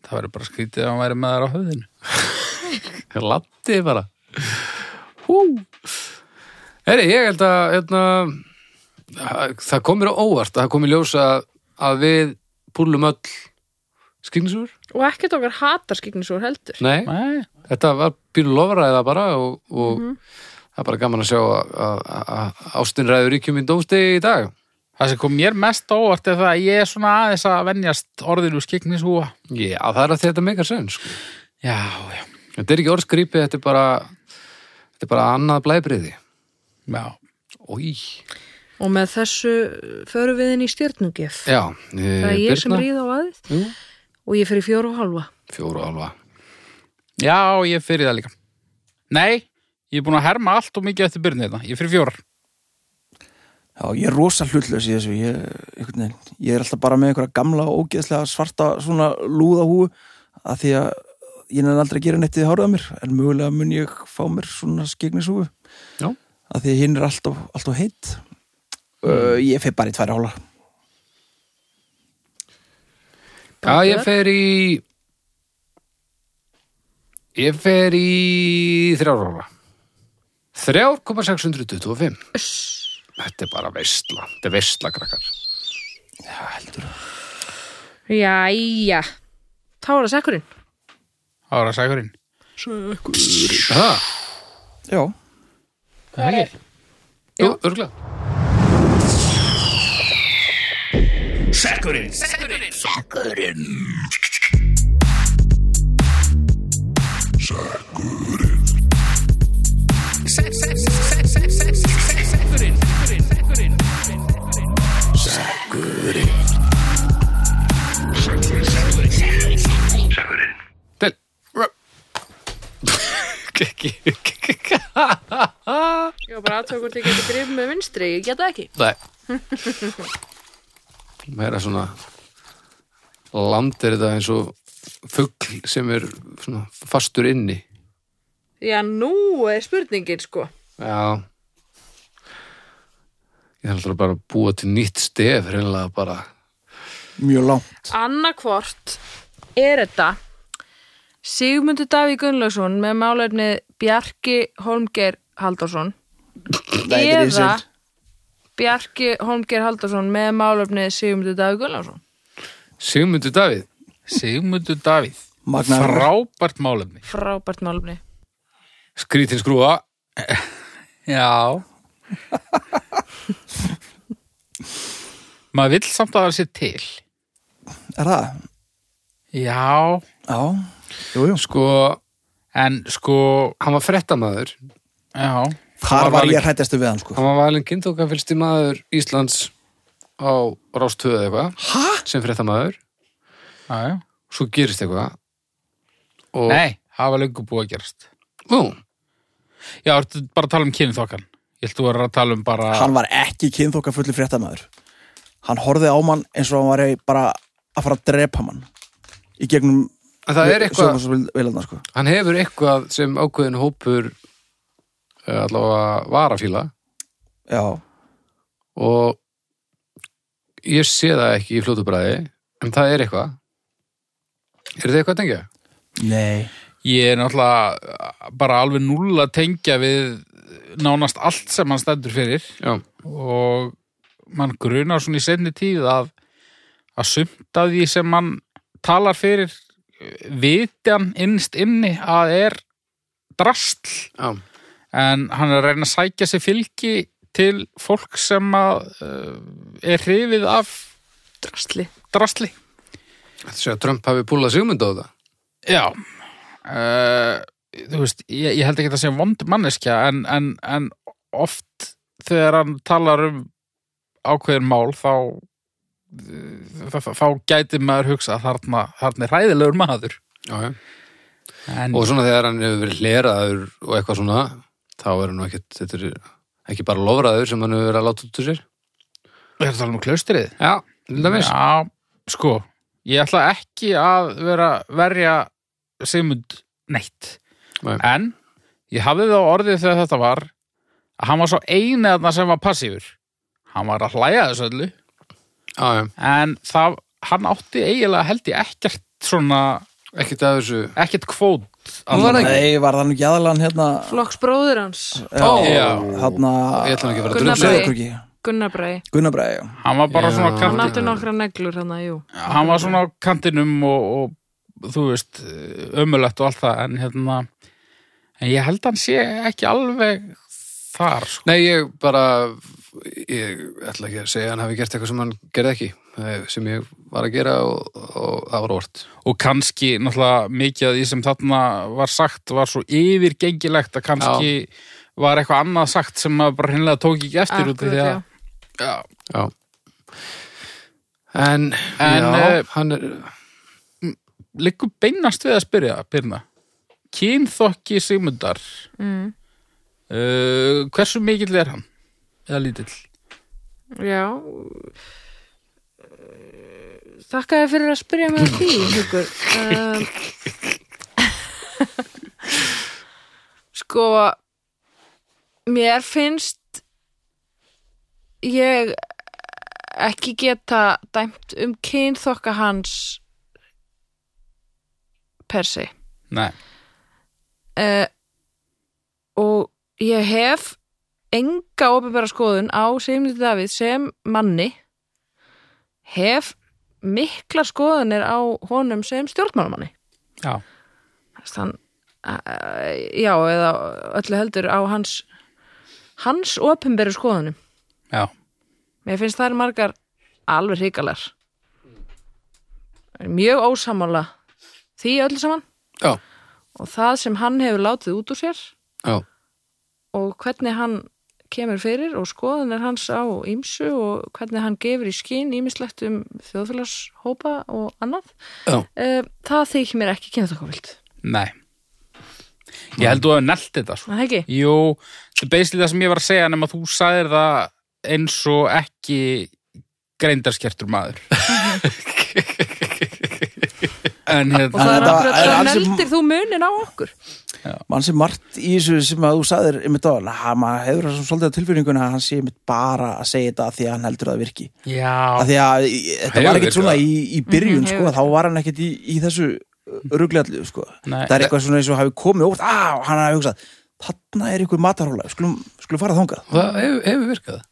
Speaker 1: Það væri bara skrítið að hann væri með þær á höfðinu.
Speaker 2: latti bara. Hú. Heri, ég held að hérna, það komir á óvart, það komir ljósa að við púlum öll skilningsur.
Speaker 3: og ekkert okkar hatar skiknisúr heldur
Speaker 2: Nei,
Speaker 1: Nei,
Speaker 2: þetta var pínu lofræða bara og, og það er bara gaman að sjá að- að að ástin ræður ríkjum í dómstegi í dag.
Speaker 1: það sem kom mér mest á óvart er það að ég er svona aðeins að venjast orðinu skiknis húa.
Speaker 2: Já, það er að þetta meikar senn, sko.
Speaker 1: Já, já,
Speaker 2: Þetta er ekki orðskrípið, þetta er bara, þetta er bara annað blæbriði.
Speaker 1: já.
Speaker 2: Í,
Speaker 3: Og með þessu förum við inn í stjörnungef.
Speaker 2: já, eh,
Speaker 3: það er ég sem ríð á aðið
Speaker 2: Jú.
Speaker 3: og ég fyrir fjóra og halva.
Speaker 2: Fjóru alva.
Speaker 1: Já, ég er fyrir það líka. hérna. Nei, ég er búin að herma allt og mikið eftir byrnið þetta. Ég er fyrir fjórar.
Speaker 4: Já, ég er rosa hlutlaus í þessu ég, einhvern veginn, ég er alltaf bara með einhverja gamla og ógeðslega svarta svona lúða húu að því að ég nefn aldrei að gera neitt í hárað á mér en mögulega mun ég fá mér svona skegnisúfu
Speaker 2: Já.
Speaker 4: að því að hinn er alltaf, alltaf heitt uh, ég feg bara í tværi hóla
Speaker 2: Já, ég fer í Ég fer í þrjáróla 3,625 Þetta er bara veistla Þetta er veistla, krakkar
Speaker 4: Já, heldur
Speaker 3: Jæja Þá er það sekkurinn
Speaker 1: Ára sækurinn.
Speaker 2: Ha,
Speaker 4: Já,
Speaker 2: það er Jú, örgulega Del Ekki
Speaker 3: Ég var bara aðtöku hvort ég geti grifið með vinstri Ég geta ekki
Speaker 2: Nei Meira svona land er þetta eins og fugl sem er svona fastur inni
Speaker 3: Já, nú er spurningin sko
Speaker 2: Já Ég þarf alltaf bara að búa til nýtt stef reynilega bara
Speaker 4: mjög langt
Speaker 3: Annarkvort er þetta Sigmundur Davík Gunnlaugsson með málefni Bjarki Holmgeir Halldórsson
Speaker 4: Nei, þetta er
Speaker 3: eða
Speaker 4: Ísöld.
Speaker 3: Bjarki Holmgeir Halldórsson með málefni Sigmundur Davík Gunnlaugsson
Speaker 2: Sigmundur Davíð
Speaker 1: Sigmundur Davíð.
Speaker 4: Magnaður.
Speaker 1: Frábært málefni.
Speaker 3: Frábært málefni
Speaker 2: Skrítin skrúa
Speaker 1: Já. Maður vill samt að það sé til.
Speaker 4: Er það?
Speaker 1: Já.
Speaker 4: Já, jú, jú
Speaker 2: Sko,
Speaker 1: En sko,
Speaker 2: hann var frettamæður
Speaker 1: já.
Speaker 4: Þar
Speaker 2: Var
Speaker 4: var
Speaker 2: valin-
Speaker 4: ég hrættastu við hann sko
Speaker 2: Hann var valinn kynntokafylsti maður Íslands á rástöðu eitthvað
Speaker 4: Hæ?
Speaker 2: sem frettamæður
Speaker 1: já, já.
Speaker 2: Svo gerist eitthvað og,
Speaker 1: Nei, það var löngu búið að gerast.
Speaker 2: Nú,
Speaker 1: Já, ertu bara að tala um kynþokkan. Ég ætla að vera að tala um bara...
Speaker 4: Hann var ekki kynþóka fullu fréttamaður Hann horfði á mann eins og hann var bara að fara að drepa mann í gegnum
Speaker 2: En það er eitthvað,
Speaker 4: Viljarnar sko
Speaker 2: hann hefur eitthvað sem ákveðin hópur eh, allavega varafíla
Speaker 4: Já,
Speaker 2: og ég sé það ekki í fljótubræði en það er eitthvað. Er þetta eitthvað að tengja?
Speaker 4: nei
Speaker 1: Ég er náttúrulega bara alveg null að tengja við nánast allt sem hann stendur fyrir
Speaker 2: Já.
Speaker 1: og mann grunar svona í senni tíð að, að sumt af því sem mann talar fyrir eh, viti hann innst inni að er drastl
Speaker 2: Já.
Speaker 1: en hann er að reyna að sækja sér fylgi til fólk sem að, uh, er hrifið af
Speaker 3: Drastli
Speaker 1: drastli.
Speaker 2: Þetta sé að Trump hafi púlað sigmynd á þetta.
Speaker 1: Já uh, Þú veist, ég, ég held ekki að segja vond manneskja en, en, en oft þegar hann talar um ákveðin mál þá eh, þá, þá- þá gæti maður hugsa að þarna, þarna er hræðilegur maður
Speaker 2: Já, já.
Speaker 1: en,
Speaker 2: Og svona þegar hann hefur verið hleraður og eitthvað svona, þá er hann nú ekkit, þetta er ekki bara lofraður sem hann hefur verið að láta út úr sér.
Speaker 1: er það alveg klaustrið?
Speaker 2: Mm, Já, til dæmis.
Speaker 1: Já, sko ég ætla ekki að vera verja Sigmund neitt
Speaker 2: Nei.
Speaker 1: en ég hafði þá orðið þegar þetta var að hann var svo eini þarna sem var passífur hann var að hlæja þessu öllu
Speaker 2: Já, já.
Speaker 1: en það, hann átti eiginlega held ég ekkert svona,
Speaker 2: Ekkit að þessu.
Speaker 1: ekkert kvót
Speaker 2: Nú var það ekki.
Speaker 4: Nei, var það nú ekki aðalann hérna
Speaker 3: Flokksbróður hans
Speaker 2: Ó,
Speaker 1: Já.
Speaker 4: Hérna
Speaker 2: Ég ætla nú ekki að vera
Speaker 3: Gunnar Bragi.
Speaker 2: drullið.
Speaker 4: Söðurkruki
Speaker 3: Gunnar Bragi
Speaker 4: Gunnar Bræði, já
Speaker 1: hann var bara
Speaker 2: Já.
Speaker 1: svona á
Speaker 3: Hann
Speaker 1: kanti,
Speaker 3: átti nokkra neglur hann að jú
Speaker 1: hann var svona á kantinum og, og þú veist ömulegt og allt það en hérna en ég held hann sé ekki alveg þar sko.
Speaker 2: Nei, ég bara ég ætla ekki að segja að hann hafi gert eitthvað sem hann gerði ekki eh, sem ég var að gera og, og það var orð
Speaker 1: og kannski náttúrulega mikið af því sem þarna var sagt var svo yfirgengilegt að kannski var eitthvað annað sagt sem maður bara hinnlega tók ekki eftir út af því
Speaker 3: já.
Speaker 1: að Já.
Speaker 2: Já En,
Speaker 1: En,
Speaker 2: já,
Speaker 1: eh,
Speaker 2: hann er
Speaker 1: liggur beinast við að spyrja Pirna kynþokki Sigmundar
Speaker 3: Mm.
Speaker 1: uh, hversu mikill er hann? eða lítill?
Speaker 3: Já Þakka þér fyrir að spyrja mig að því hugur um, Sko mér finnst ég ekki geta dæmt um kynþokka hans per se
Speaker 1: Nei,
Speaker 3: uh, og ég hef enga ofinbæra skoðun á Sigmundur Davíð sem manni hef mikla skoðunir á honum sem stjórnmálamanni
Speaker 1: já,
Speaker 3: þann uh, já, eða öllu heldur á hans hans ofinbæru skoðunum
Speaker 1: já,
Speaker 3: Mér finnst þær margar alveg hrikalar. Mjög ósamála því öllu saman
Speaker 2: Já,
Speaker 3: og það sem hann hefur látið út úr sér
Speaker 2: já,
Speaker 3: og hvernig hann kemur fyrir og skoðanir hans á ýmsu og hvernig hann gefur í skín ýmislegt um þjóðfélagshópa og annað.
Speaker 2: já,
Speaker 3: Eh, Það þykir mér ekki kynþokkavild.
Speaker 1: nei Ég held þú hefur nelt þetta svo
Speaker 3: Það ekki?
Speaker 1: Jú, þetta er beislega það sem ég var að segja nema þú sagðir það eins og ekki greindarskertur maður En
Speaker 3: Og það er
Speaker 1: hérna
Speaker 4: þetta- en
Speaker 3: akkurat, það
Speaker 4: alls-
Speaker 3: neldir þú munin á okkur.
Speaker 4: mann sem margt í þessu sem að þú sagðir einmitt á hann, maður hefur það svolítið á tilfinninguna að hann sé einmitt bara að segja þetta af því að hann heldur að það virki
Speaker 1: Já,
Speaker 4: að því að í- þetta
Speaker 2: Hefur
Speaker 4: var ekkert
Speaker 2: virkað.
Speaker 4: svona í, í byrjun
Speaker 3: Mhm,
Speaker 4: sko,
Speaker 3: hefur.
Speaker 4: þá var hann ekkert í, í þessu rugglallu sko.
Speaker 1: Nei.
Speaker 4: það er eitthvað svona eins og hafi komið óvart á, hann hafi hugsað, þarna er ykkur matarhóla skulum, skulum fara þangað
Speaker 2: það hefur hefur virkað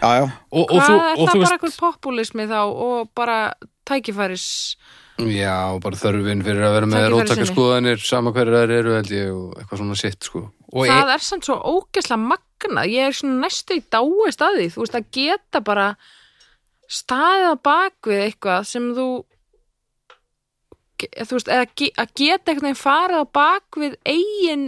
Speaker 4: já, já.
Speaker 1: og, og,
Speaker 3: Hvað
Speaker 1: þú,
Speaker 3: er
Speaker 1: og
Speaker 3: það
Speaker 1: þú
Speaker 3: bara
Speaker 1: veist
Speaker 3: eitthvað populismi þá og bara tækifæris...
Speaker 2: Já, bara þörfin fyrir að vera með
Speaker 3: Tækifæri
Speaker 2: róttaka
Speaker 3: sinni.
Speaker 2: skoðanir sama hverjar þær eru held ég og eitthvað svona sitt sko
Speaker 1: og e-
Speaker 3: það er samt svo ógeðslega magna ég er svona næstu í dáist að því þú veist að geta bara staðið á bak við eitthvað sem þú ge- þú veist, eða ge- að geta einhvern veginn farið á bak við eigin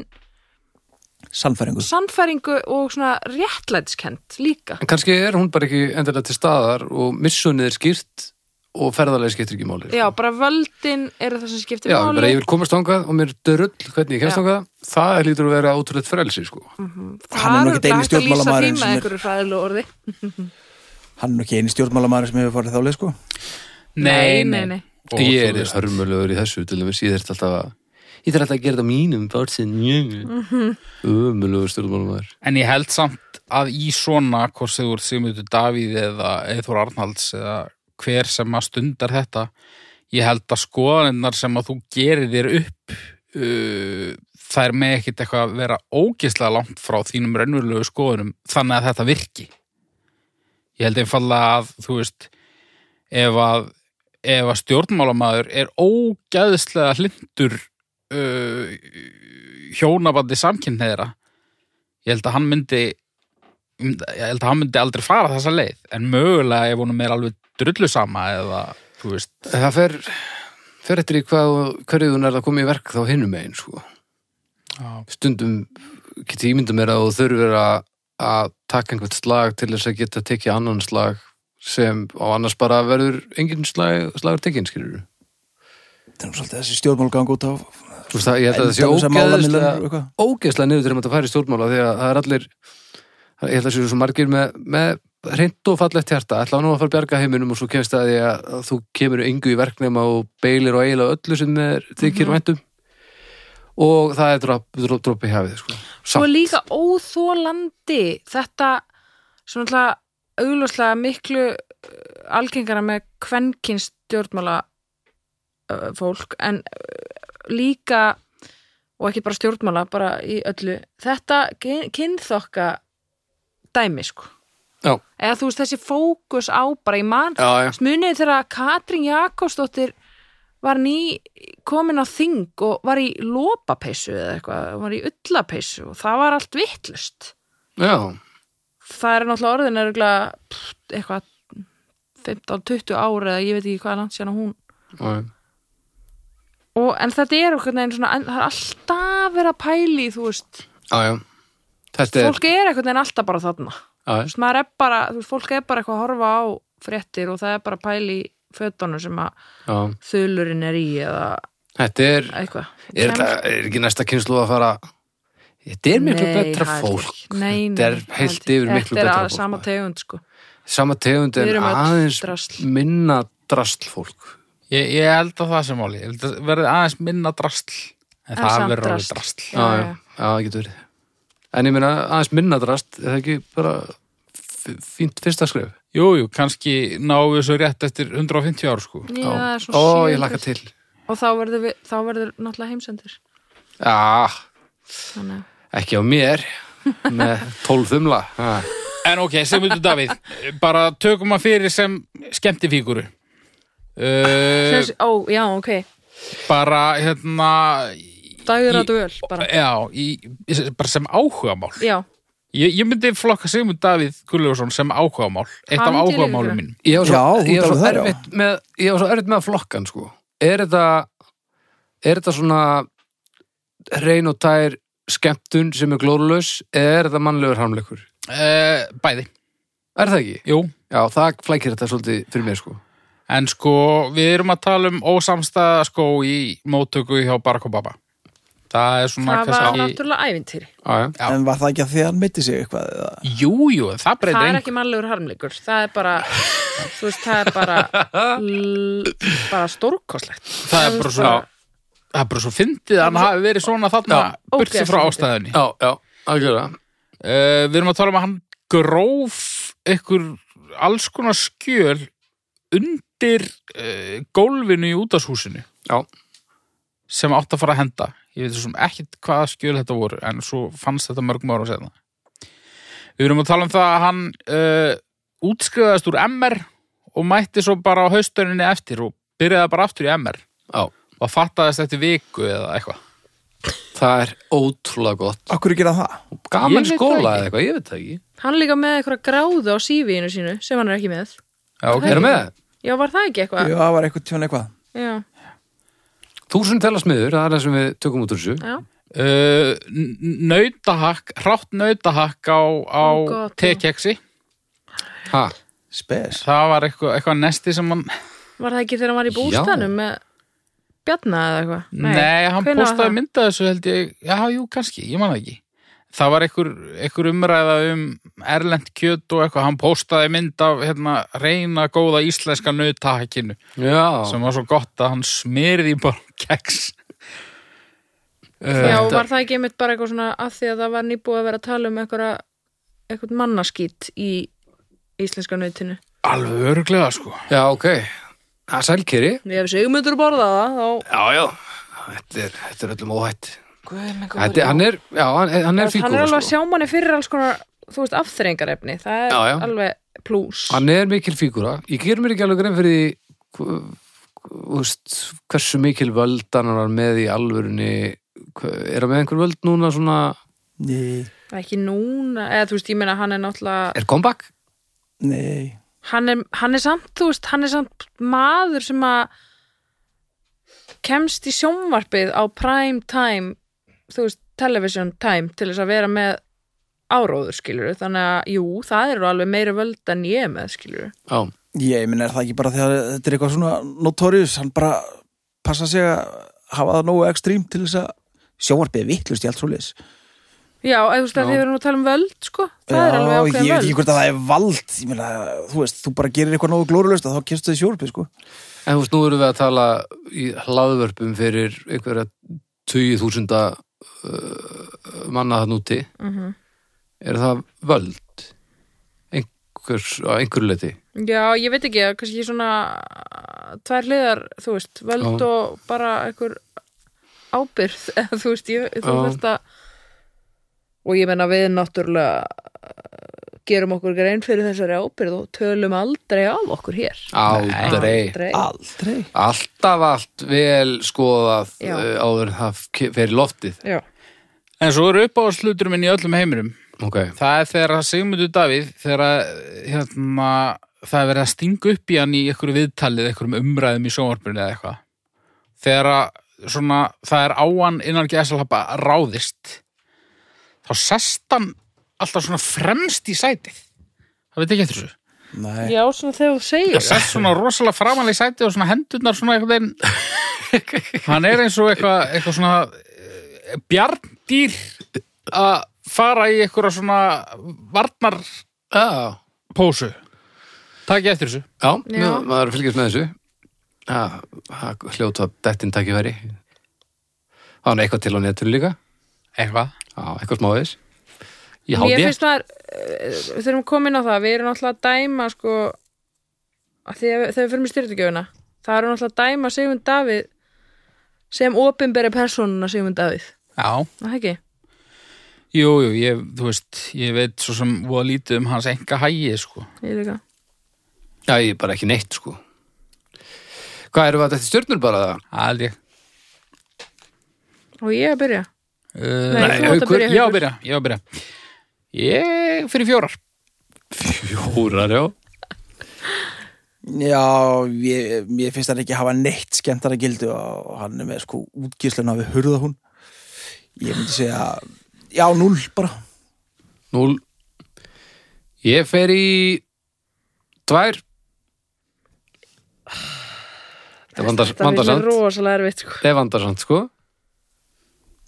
Speaker 4: sannfæringu
Speaker 3: sannfæringu og svona réttlætskend líka
Speaker 2: En kannski er hún bara ekki endilega til staðar og missunnið er skýrt og ferðarlega skiptir ekki máli sko.
Speaker 3: já, bara völdin eru það sem skiptir
Speaker 2: Já, ég bara
Speaker 3: máli
Speaker 2: ég vil komast þangað og mér dörull hvernig ég kemst
Speaker 3: Já.
Speaker 2: þangað það lítur að vera ótrúlegt frelsi sko
Speaker 4: Hann er nú
Speaker 3: það
Speaker 4: ekkert eini
Speaker 3: hægt að lýsa því
Speaker 4: stjórnmálamaðurinn
Speaker 3: með
Speaker 4: sem er-
Speaker 3: einhverju fræðilegu orði
Speaker 4: hann er nú ekki eini stjórnmálamæður sem hefur farið þálega sko.
Speaker 1: Nei, nei, nei Og
Speaker 2: Ég er
Speaker 1: þú veist-
Speaker 2: hörmulegur í þessu til dæmis, ég þarf alltaf að ég þarf alltaf að gera þetta á mínum bársinn
Speaker 3: Mhm.
Speaker 2: Ömulegur stjórnmálum þær
Speaker 1: En ég held samt að í svona hvort sem þú ert Sigmundur Davíð eða Eithor Arnalds eða hver sem að stundar þetta ég held að skoðaninnar sem að þú gerir þér upp uh, þær með ekkit eitthvað að vera ógislega langt frá þínum raunverulegu skoðunum þannig að þetta virki ég held einfallega að þú veist ef að, ef að stjórnmálamaður er ógæðislega hlindur uh, hjónabandi samkynneðra ég held að hann myndi ég held að hann myndi aldrei fara þessa leið en mögulega ef honum er alveg drullu sama eða, þú veist
Speaker 2: Það fer, fer eftir í hvað og hverju hún er að koma í verk þá hinum megin sko.
Speaker 1: Já.
Speaker 2: Stundum geti ímynda mér að þú þurfir að, að taka einhvert slag til þess að geta tekið annan slag sem á annars bara verður engin slag, slagur tekinn skilur
Speaker 4: það er nú svolítið þessi stjórnmálgang út á
Speaker 2: Þú veist það, ég held að það sé
Speaker 4: Endalausar málamiðlanir og eitthvað.
Speaker 2: ógeðslega ógeðslega niður til að fara í stjórnmála því að það er allir ég held að séu svo margir með, með reynd og fallegt hjarta, ætla nú að fara að bjarga heiminum og svo kemst að því að, að þú kemur yngu í verknema og beilir og eiginlega öllu sem er þykir væntum og það er dropp, dropp, dropp í hafið sko.
Speaker 3: Svo
Speaker 2: Samt.
Speaker 3: líka óþólandi þetta svona alltaf augljóslega miklu uh, algengara með kvenkin stjórnmála uh, fólk en uh, líka og ekki bara stjórnmála, bara í öllu þetta kyn- kynþokka dæmi sko
Speaker 2: Já.
Speaker 3: eða þú veist þessi fókus á bara í mann
Speaker 2: Já, já,
Speaker 3: Munið þegar Katrín Jakobsdóttir var ný komin á þing og var í lopapeysu eða eitthvað, var í ullapeysu og það var allt vittlust.
Speaker 2: já,
Speaker 3: Það er náttúrulega orðin eruglega eitthvað 15-20 ára eða ég veit ekki hvað langt sérna hún.
Speaker 2: já,
Speaker 3: Og, en þetta er okkur neginn svona, en það er alltaf verið að pæli, þú veist,
Speaker 2: já, já. Þetta er
Speaker 3: fólk er eitthvað neginn alltaf bara þarna.
Speaker 2: já,
Speaker 3: Þú veist, maður er bara, þú veist, fólk er bara eitthvað að horfa á fréttir og það er bara pæli í fötunum sem að
Speaker 2: já.
Speaker 3: þulurinn er í eða
Speaker 2: Þetta er
Speaker 3: eitthvað
Speaker 2: er,
Speaker 3: Kemst-
Speaker 2: það, er ekki næsta kynslu að fara Þetta er miklu
Speaker 3: Nei,
Speaker 2: betra
Speaker 3: það held ég
Speaker 2: fólk
Speaker 3: ekki. nei, nei,
Speaker 2: Þetta er
Speaker 3: það held
Speaker 2: heilt
Speaker 3: ég.
Speaker 2: yfir miklu
Speaker 3: þetta
Speaker 2: betra
Speaker 3: er að
Speaker 2: fólk
Speaker 3: sama
Speaker 2: maður.
Speaker 3: tegund sko
Speaker 2: sama tegund
Speaker 3: Við
Speaker 2: en
Speaker 3: erum öll
Speaker 2: aðeins
Speaker 3: drasl.
Speaker 2: minna drasl fólk
Speaker 1: Ég, ég held að það sem máli, ég held að verði aðeins minna drastl, en
Speaker 3: En samt
Speaker 1: það verður alveg
Speaker 3: drasl.
Speaker 1: drastl.
Speaker 3: Já, já.
Speaker 2: já, það getur verið en ég meina aðeins minna drast er það ekki bara f- fínt fyrsta skref
Speaker 1: Jú, jú, kannski náum við svo rétt eftir 150 ár, sko.
Speaker 3: Já, það er svona
Speaker 2: ó, ég
Speaker 3: sjöundir.
Speaker 2: laka til
Speaker 3: Og þá verður, við, þá verður náttúrulega heimsendir
Speaker 2: já,
Speaker 3: Þannig að
Speaker 2: ekki á mér með tólf þumla ha.
Speaker 1: En ok, sem við Davíð, bara tökum að fyrir sem skemmtifíguru.
Speaker 2: Eh,
Speaker 1: Uh,
Speaker 3: Þessi- Ó, já, ok
Speaker 1: bara, hérna,
Speaker 3: Dagur
Speaker 1: Í-
Speaker 3: að duel bara
Speaker 2: eh,
Speaker 1: já, í, bara sem áhugamál.
Speaker 3: Já,
Speaker 1: Ég, ég myndi flokka Sigmund Davíð Gulljófsson sem áhugamál, eitt
Speaker 3: Hann
Speaker 1: af
Speaker 3: til
Speaker 1: áhugamálum
Speaker 3: yfirgrunn.
Speaker 1: mínum.
Speaker 2: ég var
Speaker 4: Já,
Speaker 2: svo,
Speaker 4: þú
Speaker 2: ég
Speaker 4: talar
Speaker 2: var svo
Speaker 4: þar, já.
Speaker 2: erfitt með ég var svo erfitt með að flokkan sko er þetta er þetta svona reyn og tær skemmtun sem er glórulaus eða er þetta mannlegur harmleikur
Speaker 1: Uh, bæði,
Speaker 2: er það ekki?
Speaker 1: jú.
Speaker 2: Já, það flækir þetta svolítið fyrir mér sko
Speaker 1: En sko, við erum að tala um ósamstæða skó í móttöku hjá Barack Obama. Það er svona
Speaker 3: það var
Speaker 1: kannski...
Speaker 3: náttúrulega ævintýri
Speaker 2: Já, já.
Speaker 1: Já.
Speaker 4: En var það ekki að því að hann meiti sig eitthvað? Eða?
Speaker 1: Jú, jú, það breytir
Speaker 3: Það er
Speaker 1: engu.
Speaker 3: ekki mannlegur harmleikur Það er bara, þú veist, það er bara l- bara stórkostlegt
Speaker 1: Það er bara svo... Það er bara svo fyndið að hann hafi verið svona þarna
Speaker 2: Já.
Speaker 1: burt sér frá
Speaker 3: Ógeðslega
Speaker 1: ástæðunni.
Speaker 2: já, já, algjörða
Speaker 1: Uh, við erum að tala um að hann gróf ykkur alls konar skjöl undir uh, gólfinu í útashúsinu
Speaker 2: Já,
Speaker 1: sem átt að fara að henda. Ég veit þessum ekkit hvaða skjöl þetta voru en svo fannst þetta mörgum ára setna. Við erum að tala um það að hann uh, útskriðast úr MR og mætti svo bara á haustuninni eftir og byrjaði bara aftur í MR
Speaker 2: já,
Speaker 1: og fattaðist eftir viku eða eitthvað.
Speaker 2: það er ótrúlega gott
Speaker 4: Akkur gera það?
Speaker 1: Ég
Speaker 2: Gaman
Speaker 1: veit það
Speaker 2: skóla
Speaker 1: ekki.
Speaker 2: eða eitthvað, ég veit það ekki
Speaker 3: Hann er líka með eitthvað gráðu á CV-inu sínu sem hann er ekki með
Speaker 1: Já, ok.
Speaker 2: Erum með það?
Speaker 3: Já, var það ekki eitthvað?
Speaker 4: Já, það var eitthvað tjón eitthvað.
Speaker 3: Já,
Speaker 2: Þúsund tala smiður, það er það sem við tökum út úr þessu
Speaker 3: já,
Speaker 1: uh, n- nautahakk, hrátt nautahakk á, á
Speaker 3: Oh God,
Speaker 1: tekeksi
Speaker 2: Ha,
Speaker 4: Spes.
Speaker 1: það var eitthvað, eitthvað nesti sem hann
Speaker 3: var það ekki þegar hann var í bústanum með Bjarna eða eitthvað?
Speaker 1: nei, hann
Speaker 3: hvenær var
Speaker 1: postaði
Speaker 3: það?
Speaker 1: mynda þessu held ég já, jú, kannski, ég man það ekki það var einhver, einhver umræða um erlend kjöt og eitthvað hann postaði mynd af hérna, reyna góða íslenska nautahakkinu
Speaker 2: já,
Speaker 1: sem var svo gott að hann smyrði í bara keks
Speaker 3: Já,
Speaker 2: eh,
Speaker 1: uh,
Speaker 3: var það ekki einmitt bara eitthvað svona að því að það var nýbúið að vera að tala um eitthvað, eitthvað mannaskýt í íslenska nautinu.
Speaker 1: alveg örglega sko
Speaker 2: já, ok Það er sælkeri
Speaker 3: Við hefum sigmundur borðað það, þá...
Speaker 2: Já, já, þetta er, þetta er öllum óhætt
Speaker 3: Guð, minn,
Speaker 2: Þetta, er- hann er, já, hann, hann er
Speaker 3: Hann er
Speaker 2: fíkúra
Speaker 3: alveg að
Speaker 2: sko.
Speaker 3: sjá manni fyrir alls konar, þú veist, afþrengarefni. Það er
Speaker 2: Já, já.
Speaker 3: alveg plús.
Speaker 2: Hann er mikil fíkúra Ég ger mér ekki alveg grein fyrir því hv- hv- þú veist, hversu mikil völdan hann var með í alvörunni Hva- Er hann með einhver völd núna svona
Speaker 4: Nei,
Speaker 3: Ekki núna, eða þú veist, ég meina hann er náttúrulega...
Speaker 2: Er comeback?
Speaker 4: nei.
Speaker 3: Hann er, hann er samt, þú veist, hann er samt maður sem að kemst í sjónvarpið á prime time, þú veist, television time til þess að vera með áróður, skilur þannig að, jú, það eru alveg meira völd en ég er með, skilur
Speaker 2: Já,
Speaker 4: Ég minn er það ekki bara þegar þetta er eitthvað svona notorious, hann bara passa sig að hafa það nógu ekstrím til þess að sjónvarpið er vittlust í allt svo liðs.
Speaker 3: Já, eða þú veist, að
Speaker 2: Já.
Speaker 3: þið verðum að tala um völd, sko það er alveg
Speaker 4: ég veit
Speaker 3: ákveðin
Speaker 4: ekki
Speaker 3: völd
Speaker 4: hvort að það er vald, ég meina, þú veist, þú bara gerir eitthvað nógu glórulust að þá kemstu þið sjónvarpið, sko.
Speaker 2: En þú veist, nú erum við að tala í hlaðvörpum fyrir einhverja 20.000 uh, manna þann úti.
Speaker 3: Mhm.
Speaker 2: Er það völd? Einhvers, á einhverju leiti?
Speaker 3: Já, ég veit ekki, kannski svona tvær hliðar, þú veist, völd
Speaker 2: Já.
Speaker 3: og bara einhver ábyrð, eða þú veist, ég, þú
Speaker 2: Já.
Speaker 3: veist að og ég menna við náttúrulega eh, gerum okkur grein fyrir þessari ábyrð og tölum aldrei af okkur hér
Speaker 2: Aldrei.
Speaker 3: Aldrei.
Speaker 4: Aldrei.
Speaker 2: Alltaf allt vel skoðað
Speaker 3: Já.
Speaker 2: uh, áður en það ke- fer í loftið.
Speaker 3: Já,
Speaker 1: en svo eru uppáðslutur minn í öllum heiminum
Speaker 2: Ok.
Speaker 1: Það er þegar að Sigmundur Davíð þegar að, hérna, það er verið að stinga upp í hann í einhverju viðtalið, einhverjum umræðum í sjónvarpinu eða eitthvað. Þegar að svona, það er á hann innan gæðsalhapa ráðist þá sest hann alltaf svona fremst í sætið. Það veit ekki eftir þessu.
Speaker 4: Nei.
Speaker 3: Já svona þegar þú segir
Speaker 1: Það sest svona rosalega framanlega í sætið og svona hendurnar svona einhvern veginn. hann er eins og eitthvað eitthva svona eh, bjarndýr að fara í einhverja svona varnar
Speaker 2: Já,
Speaker 1: pósu Takk ég eftir þessu.
Speaker 2: Já,
Speaker 3: Já.
Speaker 2: já. maður fylgjast með þessu Já, það hljóta dettin takkifæri Það var nú eitthvað til á netinu líka
Speaker 1: Eitthvað.
Speaker 2: Já, eitthvað smáðis Í
Speaker 3: Mér
Speaker 2: hádí
Speaker 3: finnst maður, eh, við þurfum komin á það, við erum alltaf að dæma sko, að því að þegar við fyrir með styrtugjöfuna, það erum alltaf að dæma Sigmund Davíð sem opinberi persónuna Sigmund Davíð,
Speaker 1: Já.
Speaker 3: Er það ekki?
Speaker 1: Jú, jú, ég, þú veist, ég veit svo sem voða lítið um hans enga hægi, sko.
Speaker 3: Ég líka.
Speaker 2: Já, ég er bara ekki neitt sko Hvað erum við að þetta stjörnur bara það?
Speaker 1: Aldi.
Speaker 3: Og ég að byrja.
Speaker 1: Uh,
Speaker 3: Nei, þú átt að byrja,
Speaker 1: Já,
Speaker 3: Haukur.
Speaker 1: byrja, já, byrja. Ég, fyrir fjórar.
Speaker 2: Fjórar, já
Speaker 4: Já, ég, ég finnst hann ekki hafa neitt skemmtara gildu og hann er með sko útgíslun af hurða hún ég myndi segja já, null bara
Speaker 2: Núl Ég fer í tvær Það vandar,
Speaker 3: Þetta
Speaker 2: vandar
Speaker 3: finnst mér
Speaker 2: samt
Speaker 3: rosalega erfitt sko.
Speaker 2: Það er vandar samt sko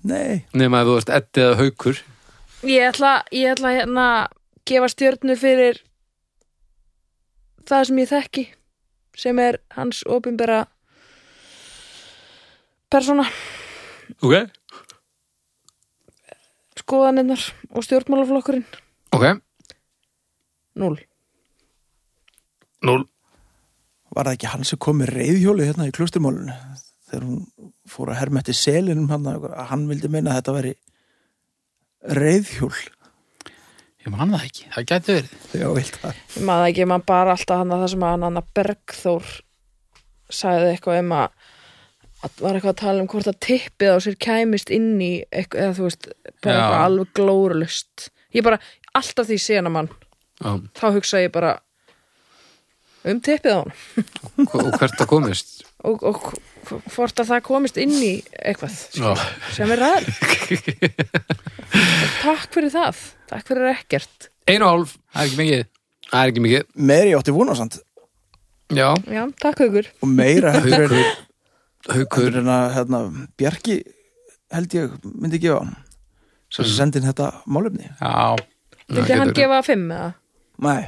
Speaker 4: nei,
Speaker 2: Nefn að þú veist etti eða haukur
Speaker 3: Ég ætla, ég ætla hérna gefa stjörnu fyrir það sem ég þekki sem er hans opinbera persóna
Speaker 2: Ok
Speaker 3: skoðaninnar og stjórnmálaflokkurinn
Speaker 2: Ok,
Speaker 3: Núl
Speaker 2: núl
Speaker 4: var það ekki hann sem kom með reyðhjóli hérna í klusturmálun þegar hún fór að herma eftir selinum hann að hann vildi meina að þetta veri reyðhjól
Speaker 1: Ég man það ekki, það gæti verið.
Speaker 4: já, vilt það
Speaker 3: Ég maður ekki, maður bara alltaf hann að það sem hann Anna Bergþór sagði eitthvað um að að var eitthvað að tala um hvort að tippið á sér kæmist inn í eitthvað, eða þú veist, bara
Speaker 1: Já.
Speaker 3: eitthvað alveg glórulust ég bara, alltaf því sena mann
Speaker 2: Já,
Speaker 3: þá hugsa ég bara um tippið á hann
Speaker 2: og og hvert það komist
Speaker 3: og, og hv- hvort að það komist inn í eitthvað
Speaker 2: Já,
Speaker 3: sem er ræður Takk fyrir það, takk fyrir ekkert
Speaker 2: einu og hálf
Speaker 1: Það er ekki mikið.
Speaker 2: Það er ekki mikið
Speaker 4: meiri átti vunasand
Speaker 2: Já,
Speaker 3: Já, takk haukur
Speaker 4: og meira heldur en,
Speaker 2: haukur
Speaker 4: heldur en að hérna, Bjarki held ég myndi gefa hann sem mm. sendi inn þetta málefni
Speaker 1: Já,
Speaker 3: Vildi hann
Speaker 2: getur-
Speaker 3: gefa fimm eða?
Speaker 4: nei,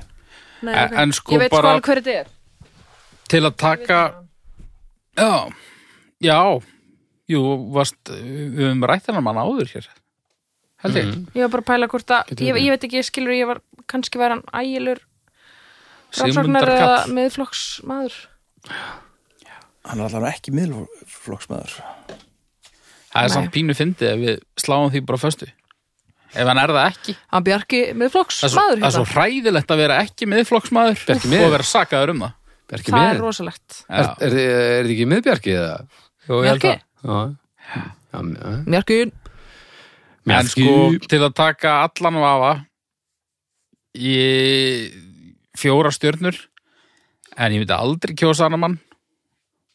Speaker 3: Nei,
Speaker 1: En-
Speaker 3: ok.
Speaker 1: en sko
Speaker 3: Ég veit
Speaker 1: bara-
Speaker 3: sko alveg hver þetta er
Speaker 1: til að taka... Já, já, jú, varst, við höfum rætt hennar mann áður hér. Held ég.
Speaker 2: Mm.
Speaker 3: Ég var bara að pæla hvort að,
Speaker 2: Getur
Speaker 3: ég,
Speaker 2: verið.
Speaker 3: ég veit ekki, ég skilur ég var, kannski var hann ægilur rannsóknar eða
Speaker 1: Sigmundarkall.
Speaker 3: miðflokks maður
Speaker 4: hann er allavega ekki miðlflokksmaður
Speaker 1: Það er
Speaker 3: Nei.
Speaker 1: samt pínu fyndið ef við sláum því bara föstu. Ef hann er það ekki.
Speaker 3: Hann Bjarki hérna. miðflokks
Speaker 1: Það er svo,
Speaker 3: maður
Speaker 1: það er svo hræðilegt að vera hérna. ekki miðflokksmaður
Speaker 2: Ekki
Speaker 1: og
Speaker 2: miður.
Speaker 1: vera sakaður um það.
Speaker 2: Bjarki
Speaker 3: Það er
Speaker 2: með
Speaker 3: rosalegt
Speaker 2: Er, er,
Speaker 1: Já,
Speaker 2: er, er þið ekki með Bjarki eða?
Speaker 1: Jú, ég held
Speaker 3: Bjarki,
Speaker 1: það.
Speaker 2: Já, já, já.
Speaker 3: Bjarki
Speaker 1: En
Speaker 2: Bjarki
Speaker 1: sko, til að taka allan vafa ég fjóra stjörnur en ég myndi aldrei kjósa annar mann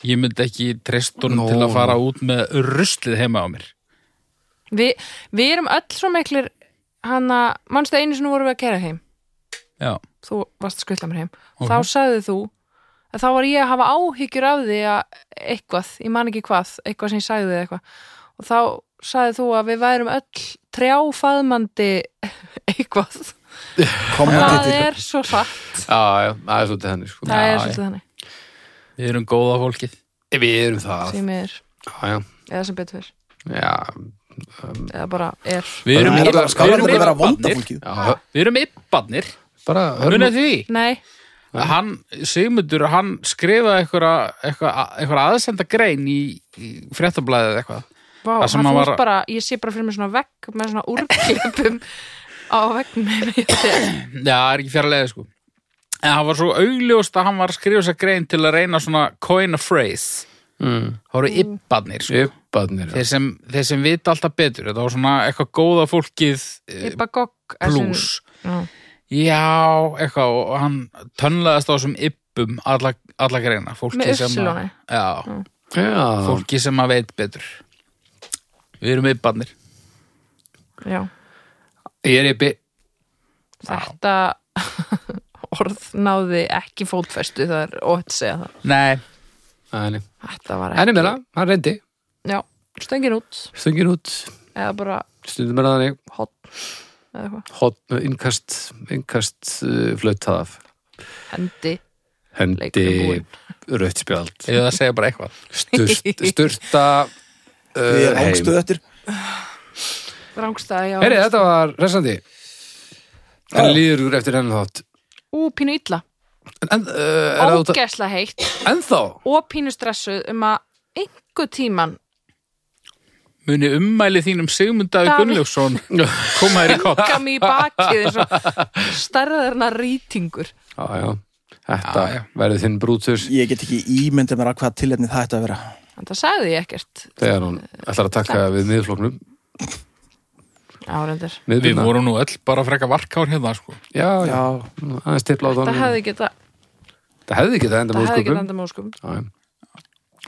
Speaker 1: ég myndi ekki treystunum
Speaker 2: Nó.
Speaker 1: til að fara út með ruslið heima á mér
Speaker 3: Við við erum öll svo miklir hana, manstu einu sinni vorum við að kæra heim
Speaker 1: Já,
Speaker 3: þú varst að skvilla mér heim
Speaker 1: Ok.
Speaker 3: þá sagði þú að þá var ég að hafa áhyggjur af því að eitthvað, ég man ekki hvað eitthvað sem ég sagði eða eitthvað og þá sagði þú að við værum öll trjáfaðmandi eitthvað það
Speaker 4: kommentatíð
Speaker 3: er svo satt
Speaker 2: Já, já, það er svolítið henni sko.
Speaker 3: það
Speaker 1: Já,
Speaker 3: er
Speaker 1: já.
Speaker 3: svolítið þannig
Speaker 1: við erum góða fólkið
Speaker 2: Við erum það
Speaker 3: sem ég er,
Speaker 2: Já, já,
Speaker 3: eða sem betur fyrr
Speaker 2: já,
Speaker 3: eða bara er
Speaker 1: Við erum,
Speaker 4: hann er
Speaker 1: hérna við
Speaker 4: allavega skáður að vera vonda
Speaker 1: yppadnir
Speaker 4: fólkið
Speaker 2: já
Speaker 1: Við erum yppadnir
Speaker 2: Bara
Speaker 1: Munið því
Speaker 3: nei,
Speaker 1: Hann, Sigmundur, hann skrifaði eitthvað, eitthvað, eitthvað aðsenda grein í, í fréttablaðið eða eitthvað
Speaker 3: vá,
Speaker 1: Það
Speaker 3: hann
Speaker 1: sem
Speaker 3: þú
Speaker 1: hann
Speaker 3: var...
Speaker 1: var-
Speaker 3: bara ég sé bara fyrir mér svona vegg með svona úrklipum á veggnum já,
Speaker 1: Já, það er ekki fjarlæði sko En hann var svo augljóst að hann var að skrifa sér grein til að reyna svona coin a phrase
Speaker 2: mm.
Speaker 1: Það voru yppadnir sko
Speaker 2: Yppadnir já.
Speaker 1: þeir sem, þeir sem vita alltaf betur Þetta var svona eitthvað góða fólkið eh,
Speaker 3: Ibagog
Speaker 1: plús
Speaker 3: já.
Speaker 1: Já, eitthvað og hann tönnlaðast á þessum yppum alla, alla greina fólki
Speaker 3: Með
Speaker 1: sem að,
Speaker 3: upsiloni.
Speaker 1: Já,
Speaker 2: já,
Speaker 1: fólki sem að veit betur Við erum yppadnir
Speaker 3: já
Speaker 2: ég er yppi
Speaker 3: þetta orð náði ekki fótfestu það er ótt að segja það
Speaker 1: Nei,
Speaker 2: Henni
Speaker 3: þetta var ekki
Speaker 2: meira, hann reyndi
Speaker 3: já, stöngin út
Speaker 2: Stöngin út,
Speaker 3: eða bara
Speaker 2: stundum er þannig
Speaker 3: hot eða eitthvað
Speaker 2: Hot, innkast, innkast uh, flautað eh, af
Speaker 3: hendi
Speaker 2: hendi
Speaker 3: Leikurinn búinn.
Speaker 2: rautt spjald
Speaker 1: Eða það segja bara eitthvað.
Speaker 2: Sturt, sturta
Speaker 4: Við
Speaker 2: uh,
Speaker 4: erum ángstuð eftir
Speaker 3: Rángstæði, já.
Speaker 2: Heri, þetta var resandi
Speaker 4: Já.
Speaker 2: En líður úr eftir henni þátt
Speaker 3: Ú, pínu illa.
Speaker 2: En, en, uh, er það út að-
Speaker 3: Ógeðslega heitt
Speaker 2: Ennþá?
Speaker 3: og pínu stressuð um að einhver tíman
Speaker 1: Muni ummæli um þínum Sigmundaði
Speaker 3: Davíð.
Speaker 1: Gunnljófsson koma þér í koll.
Speaker 3: gaf mig í bakið eins og stærðarna rýtingur.
Speaker 2: Já, já Þetta
Speaker 1: Já, já.
Speaker 2: verður þinn brútus
Speaker 4: Ég get ekki ímyndið mér að hvað tilefni það ætti að vera
Speaker 3: En það sagði ég ekkert.
Speaker 2: þegar hún ætlar að taka við miðflóknum
Speaker 3: Árendur.
Speaker 1: Við
Speaker 2: miðbyrna.
Speaker 1: vorum nú öll bara freka varkár hérna, sko.
Speaker 2: Já, já,
Speaker 4: Já.
Speaker 2: aðeins tipla á
Speaker 3: Það
Speaker 2: tónum
Speaker 3: hefði geta,
Speaker 2: Það hefði ekki það enda
Speaker 3: það hefði geta
Speaker 2: móðsköpum
Speaker 3: enda móskum.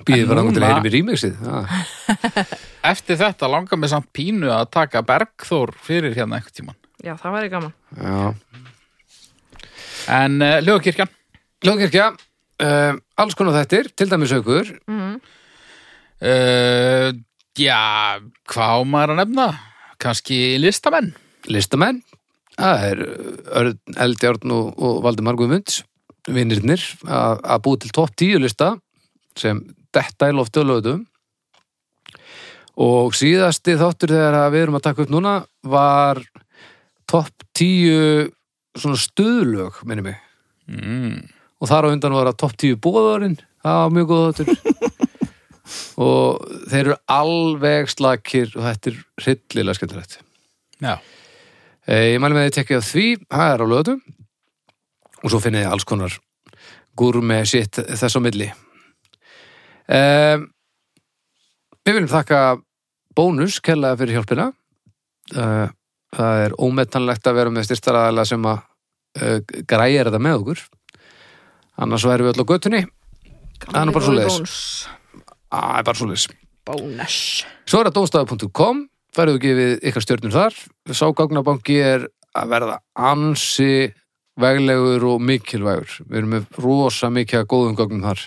Speaker 2: Býðið
Speaker 1: En
Speaker 2: bara angur til að
Speaker 1: núna-
Speaker 2: heyrum í rímixið Já,
Speaker 1: Eftir þetta langar mig samt pínu að taka Bergþór fyrir hérna einhvern tíman.
Speaker 3: Já, það væri gaman.
Speaker 2: já
Speaker 1: En uh, Ljóðkirkjan,
Speaker 2: Ljóðkirkja, uh, alls konar þættir til dæmis aukur
Speaker 1: uh, já, hvað á maður að nefna? Kanski listamenn?
Speaker 2: listamenn það er eh, Örn Eldjárn og, og Valdimar Guðmunds vinnirnir að að búi til topp 10 lista sem detta í loftu og lögðum og síðasti þáttur þegar að við erum að taka upp núna var topp 10 svona stuðlög minni mig
Speaker 1: Mm.
Speaker 2: og þar á undan var að topp 10 bóðarinn það var mjög góð þáttur og þeir eru alveg slakir og þetta er hryllilega skemmtilegt
Speaker 1: Já,
Speaker 2: Eh, Ég mæli með því að tekja á því, það er á lögatum og svo finnið þið alls konar gúr með sitt þess á milli. Um, við viljum þakka bónus kellaði fyrir hjálpina. Uh, það er ómetanlegt að vera með styrstaraðala sem að uh, græja þetta með okkur. Annars væri við öll á göttunni. Það er nú bara svoleiðis. Það er bara svoleiðis.
Speaker 3: Bónus.
Speaker 2: Svo er það dómstafu.com, færðu ekki við ykkar stjörnum þar. Ságagnabanki er að verða ansi veglegur og mikilvægur. Við erum með rosa mikið af góðum gögnum þar.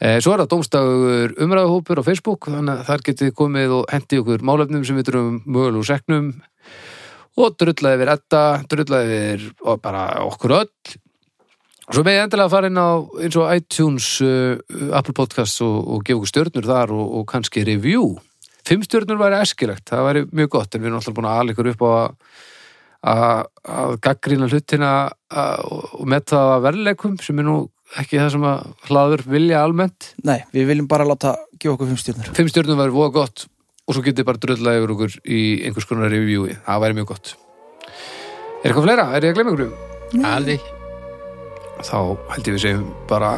Speaker 2: Eh, Svo er það dómstafur umræðuhópur á Facebook, þannig að þar getið komið og hendi okkur málefnum sem við þurfum mögul úr seknum og drullaði yfir Edda, drullaði yfir og bara okkur öll. Svo með endilega að fara inn á eins og iTunes, uh, Apple Podcasts og, og gefa okkur stjörnur þar og, og kannski review. Fimm stjörnur væri eskilegt, það væri mjög gott en við erum alltaf búin að ala ykkur upp á að- að að gaggrýna hlutina að- og og metta það að verðleikum sem er nú ekki það sem að hlaður vilja almennt.
Speaker 4: Nei, við viljum bara láta gefa okkur fimm stjórnur
Speaker 2: Fimm stjörnur væri voða gott og svo getið bara drullaði yfir okkur í einhvers konar reviewi, það væri mjög gott. Er eitthvað fleira? Er ég að glemma ykkur um?
Speaker 1: aldrei.
Speaker 2: þá held ég við segjum bara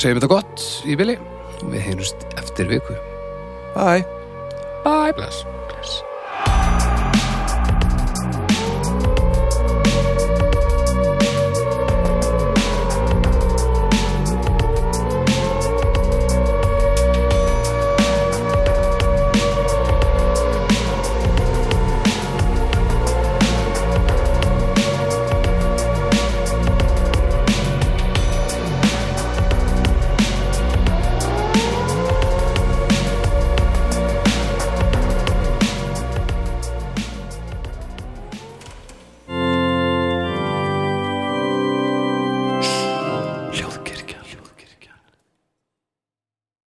Speaker 2: segjum þetta gott í bili og við heyrjumst eftir viku
Speaker 4: Bye
Speaker 1: Bless.